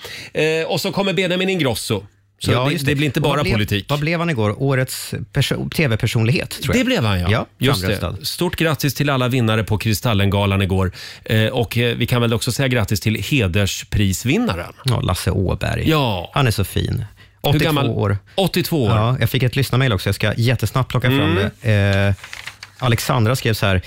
Eh, och så kommer Benjamin Ingrosso. Så det, just det. blir inte Och vad bara blev, politik. Vad blev han igår? Årets perso- tv-personlighet, tror jag. Det blev han ja. ja Just framröstad. det. Stort grattis till alla vinnare på Kristallengalan igår. Eh, och eh, vi kan väl också säga grattis till hedersprisvinnaren. Ja, Lasse Åberg. Ja. Han är så fin. Hur 82 gammal- år. 82 år. Ja, jag fick ett lyssnarmail också. Jag ska jättesnabbt plocka Mm. fram det. Eh, Alexandra skrev så här.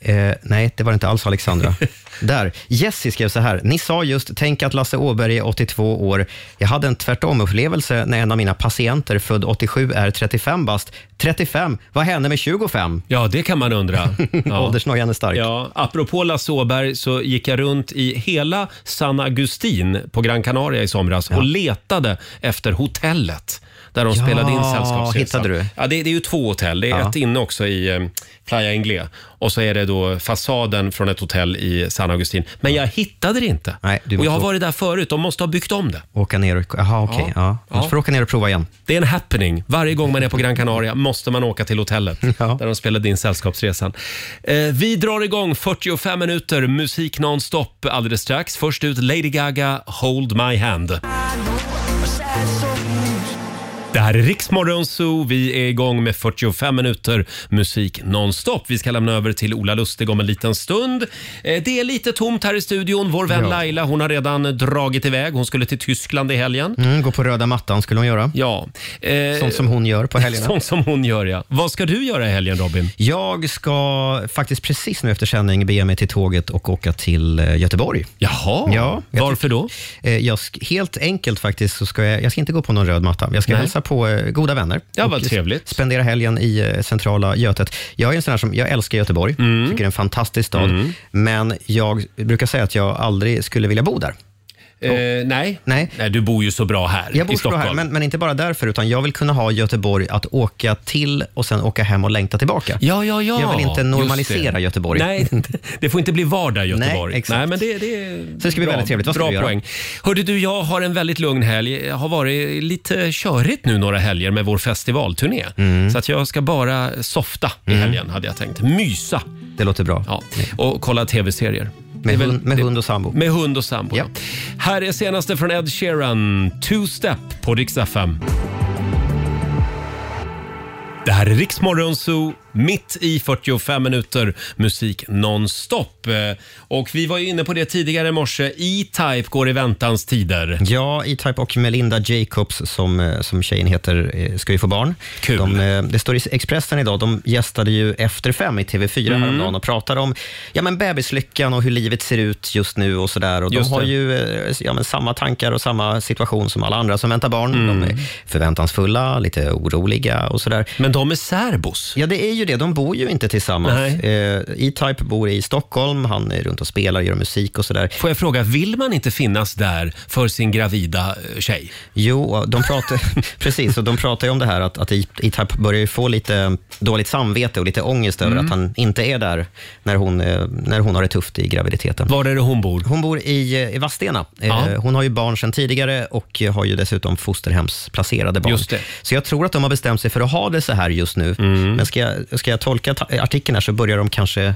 Eh, nej, det var inte alls Alexandra. Där. Jessie skrev så här. Ni sa just, tänk att Lasse Åberg är 82 år. Jag hade en tvärtom-upplevelse när en av mina patienter född 87 är 35 bast. 35, vad hände med 25? Ja, det kan man undra. Ja. Åldersnojan är stark. Ja, apropå Lasse Åberg så gick jag runt i hela San Agustin på Gran Canaria i somras och letade efter hotellet där de Ja, spelade in Sällskapsresan. hittade du? Ja, det, det är ju två hotell. Det är Ja. ett inne också i eh, Playa Inglés och så är det då fasaden från ett hotell i San Agustin. Men jag hittade det inte. Nej, du och jag har måste- varit där förut. De måste ha byggt om det. Åka ner och... Jaha, okej. Ja. Ja. Ja. Du får åka ner och prova igen. Det är en happening. Varje gång man är på Gran Canaria måste man åka till hotellet där de spelade in Sällskapsresan. Eh, vi drar igång 45 minuter musik nonstop alldeles strax. Först ut Lady Gaga, Hold My Hand. Det här är Riksmorgon Zoo. Vi är igång med 45 minuter musik nonstop. Vi ska lämna över till Ola Lustig om en liten stund. Eh, Det är lite tomt här i studion. Vår vän Ja. Laila hon har redan dragit iväg. Hon skulle till Tyskland i helgen. Mm, gå på röda mattan skulle hon göra. Ja. Eh, Sånt som hon gör på helgerna. Sånt som hon gör, ja. Vad ska du göra i helgen, Robin? Jag ska faktiskt precis nu efter sändning bege mig till tåget och åka till eh, Göteborg. Jaha, ja, varför då? Jag sk- helt enkelt faktiskt så ska jag, jag ska inte gå på någon röd matta. Jag ska Nej. hälsa på eh, goda vänner. Ja, vad Och s- trevligt. Spendera helgen i eh, centrala Götet. Jag är en sån här som, jag älskar Göteborg. Tycker det är en fantastisk stad. Mm. Men jag brukar säga att jag aldrig skulle vilja bo där. Eh, nej. nej. du bor ju så bra här Jag bor i så bra Stockholm. här, men, men inte bara därför, utan jag vill kunna ha Göteborg att åka till och sen åka hem och längta tillbaka. Ja, ja, ja. Jag vill Just inte det. normalisera Göteborg. Nej, det får inte bli vardag Göteborg. Nej, exakt. men det, det är Så det ska bli väldigt trevligt. Vad ska bra du göra? poäng. Hörde du, jag har en väldigt lugn helg. Jag har varit lite körigt nu några helger med vår festivalturné. Mm. Så att jag ska bara softa i helgen, hade jag tänkt. Mysa. Det låter bra. Ja. Och kolla tv-serier. Det Med, är väl- hund, med hund och sambo. Med hund och sambo. ja. Här är senaste från Ed Sheeran, Two Step på Rix FM. Det här är Rix Morgon Zoo, mitt i 45 minuter musik nonstop. Eh, Och vi var ju inne på det tidigare i morse. E-Type går i väntans tider. Ja, E-Type och Melinda Jacobs, som, eh, som tjejen heter, eh, ska ju få barn. Kul. De, eh, det står i Expressen idag, de gästade ju Efter fem i TV4 Mm. häromdagen och pratade om ja, men bebislyckan och hur livet ser ut just nu och sådär. Och de Just har det. ju eh, ja, men samma tankar och samma situation som alla andra som väntar barn. Mm. De är förväntansfulla, lite oroliga och sådär. Men de är särbos. Ja, det är ju det. De bor ju inte tillsammans. Nej. Eh, E-Type bor i Stockholm, han är runt och spelar, gör musik och sådär. Får jag fråga, vill man inte finnas där för sin gravida eh, tjej? Jo, och de pratar, precis. Och de pratar ju om det här att, att E-Type börjar ju få lite dåligt samvete och lite ångest över Mm. att han inte är där när hon, eh, när hon har det tufft i graviditeten. Var är det hon bor? Hon bor i, eh, i Vadstena. Eh, Ja. Hon har ju barn sedan tidigare och har ju dessutom fosterhemsplacerade barn. Just det. Mm. Så jag tror att de har bestämt sig för att ha det så här just nu. Men ska jag, ska jag tolka ta- artikeln här så börjar de kanske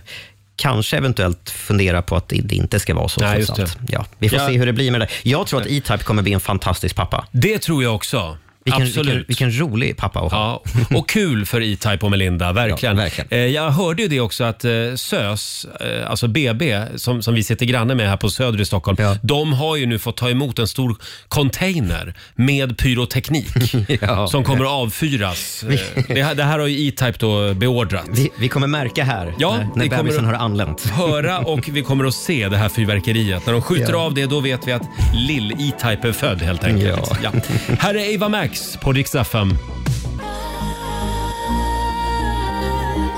Kanske eventuellt fundera på att det det inte ska vara så. Nej, trots just allt. det. Ja, vi får Ja. se hur det blir med det där. Jag tror att E-Type kommer bli en fantastisk pappa. Det tror jag också. Vilken, Absolut. Vilken, vilken rolig pappa att ha. Ja, och kul för E-Type och Melinda, verkligen. Eh, Jag hörde ju det också att eh, SÖS, eh, alltså BB, som, som vi sitter granne med här på Söder i Stockholm, de har ju nu fått ta emot en stor container med pyroteknik som kommer att avfyras. Eh, Det, här- det här har ju E-Type då beordrat. Vi, vi kommer märka här Ja, när, när vi kommer bebisen att- har anlänt. Höra och vi kommer att se det här fyrverkeriet. När de skjuter Ja. av det, då vet vi att Lill-E-Type är född helt enkelt. Ja. Ja. Här är Eva Max på Rix FM.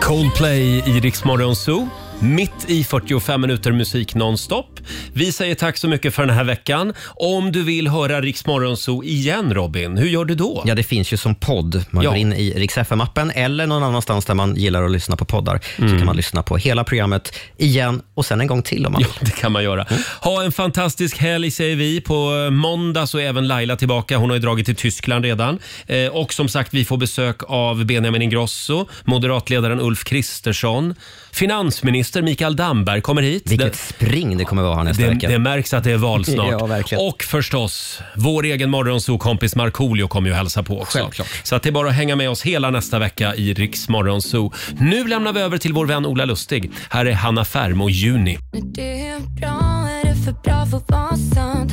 Coldplay i Rix Morgon Zoo. Mitt i 45 minuter musik nonstop. Vi säger tack så mycket för den här veckan. Om du vill höra Rix Morgonzoo igen, Robin, hur gör du då? Ja, det finns ju som podd. Man Ja. går in i Rix FM-appen eller någon annanstans där man gillar att lyssna på poddar. Mm. Så kan man lyssna på hela programmet igen och sen en gång till om man Mm. Ja, det kan man göra. Ha en fantastisk helg säger vi. På eh, måndag så är även Laila tillbaka. Hon har ju dragit till Tyskland redan. Eh, och som sagt, vi får besök av Benjamin Ingrosso, moderatledaren Ulf Kristersson, finansminister Mikael Damberg kommer hit. Vilket spring det kommer vara här nästa det, vecka. Det märks att det är val snart. Ja, verkligen. och förstås, vår egen morgonsokompis Markoolio kommer ju hälsa på också. Självklart. Så att det är bara att hänga med oss hela nästa vecka i Riks Morgonzoo. Nu lämnar vi över till vår vän Ola Lustig. Här är Hanna Färm och Juni. När du är bra är det för bra för att vara sant.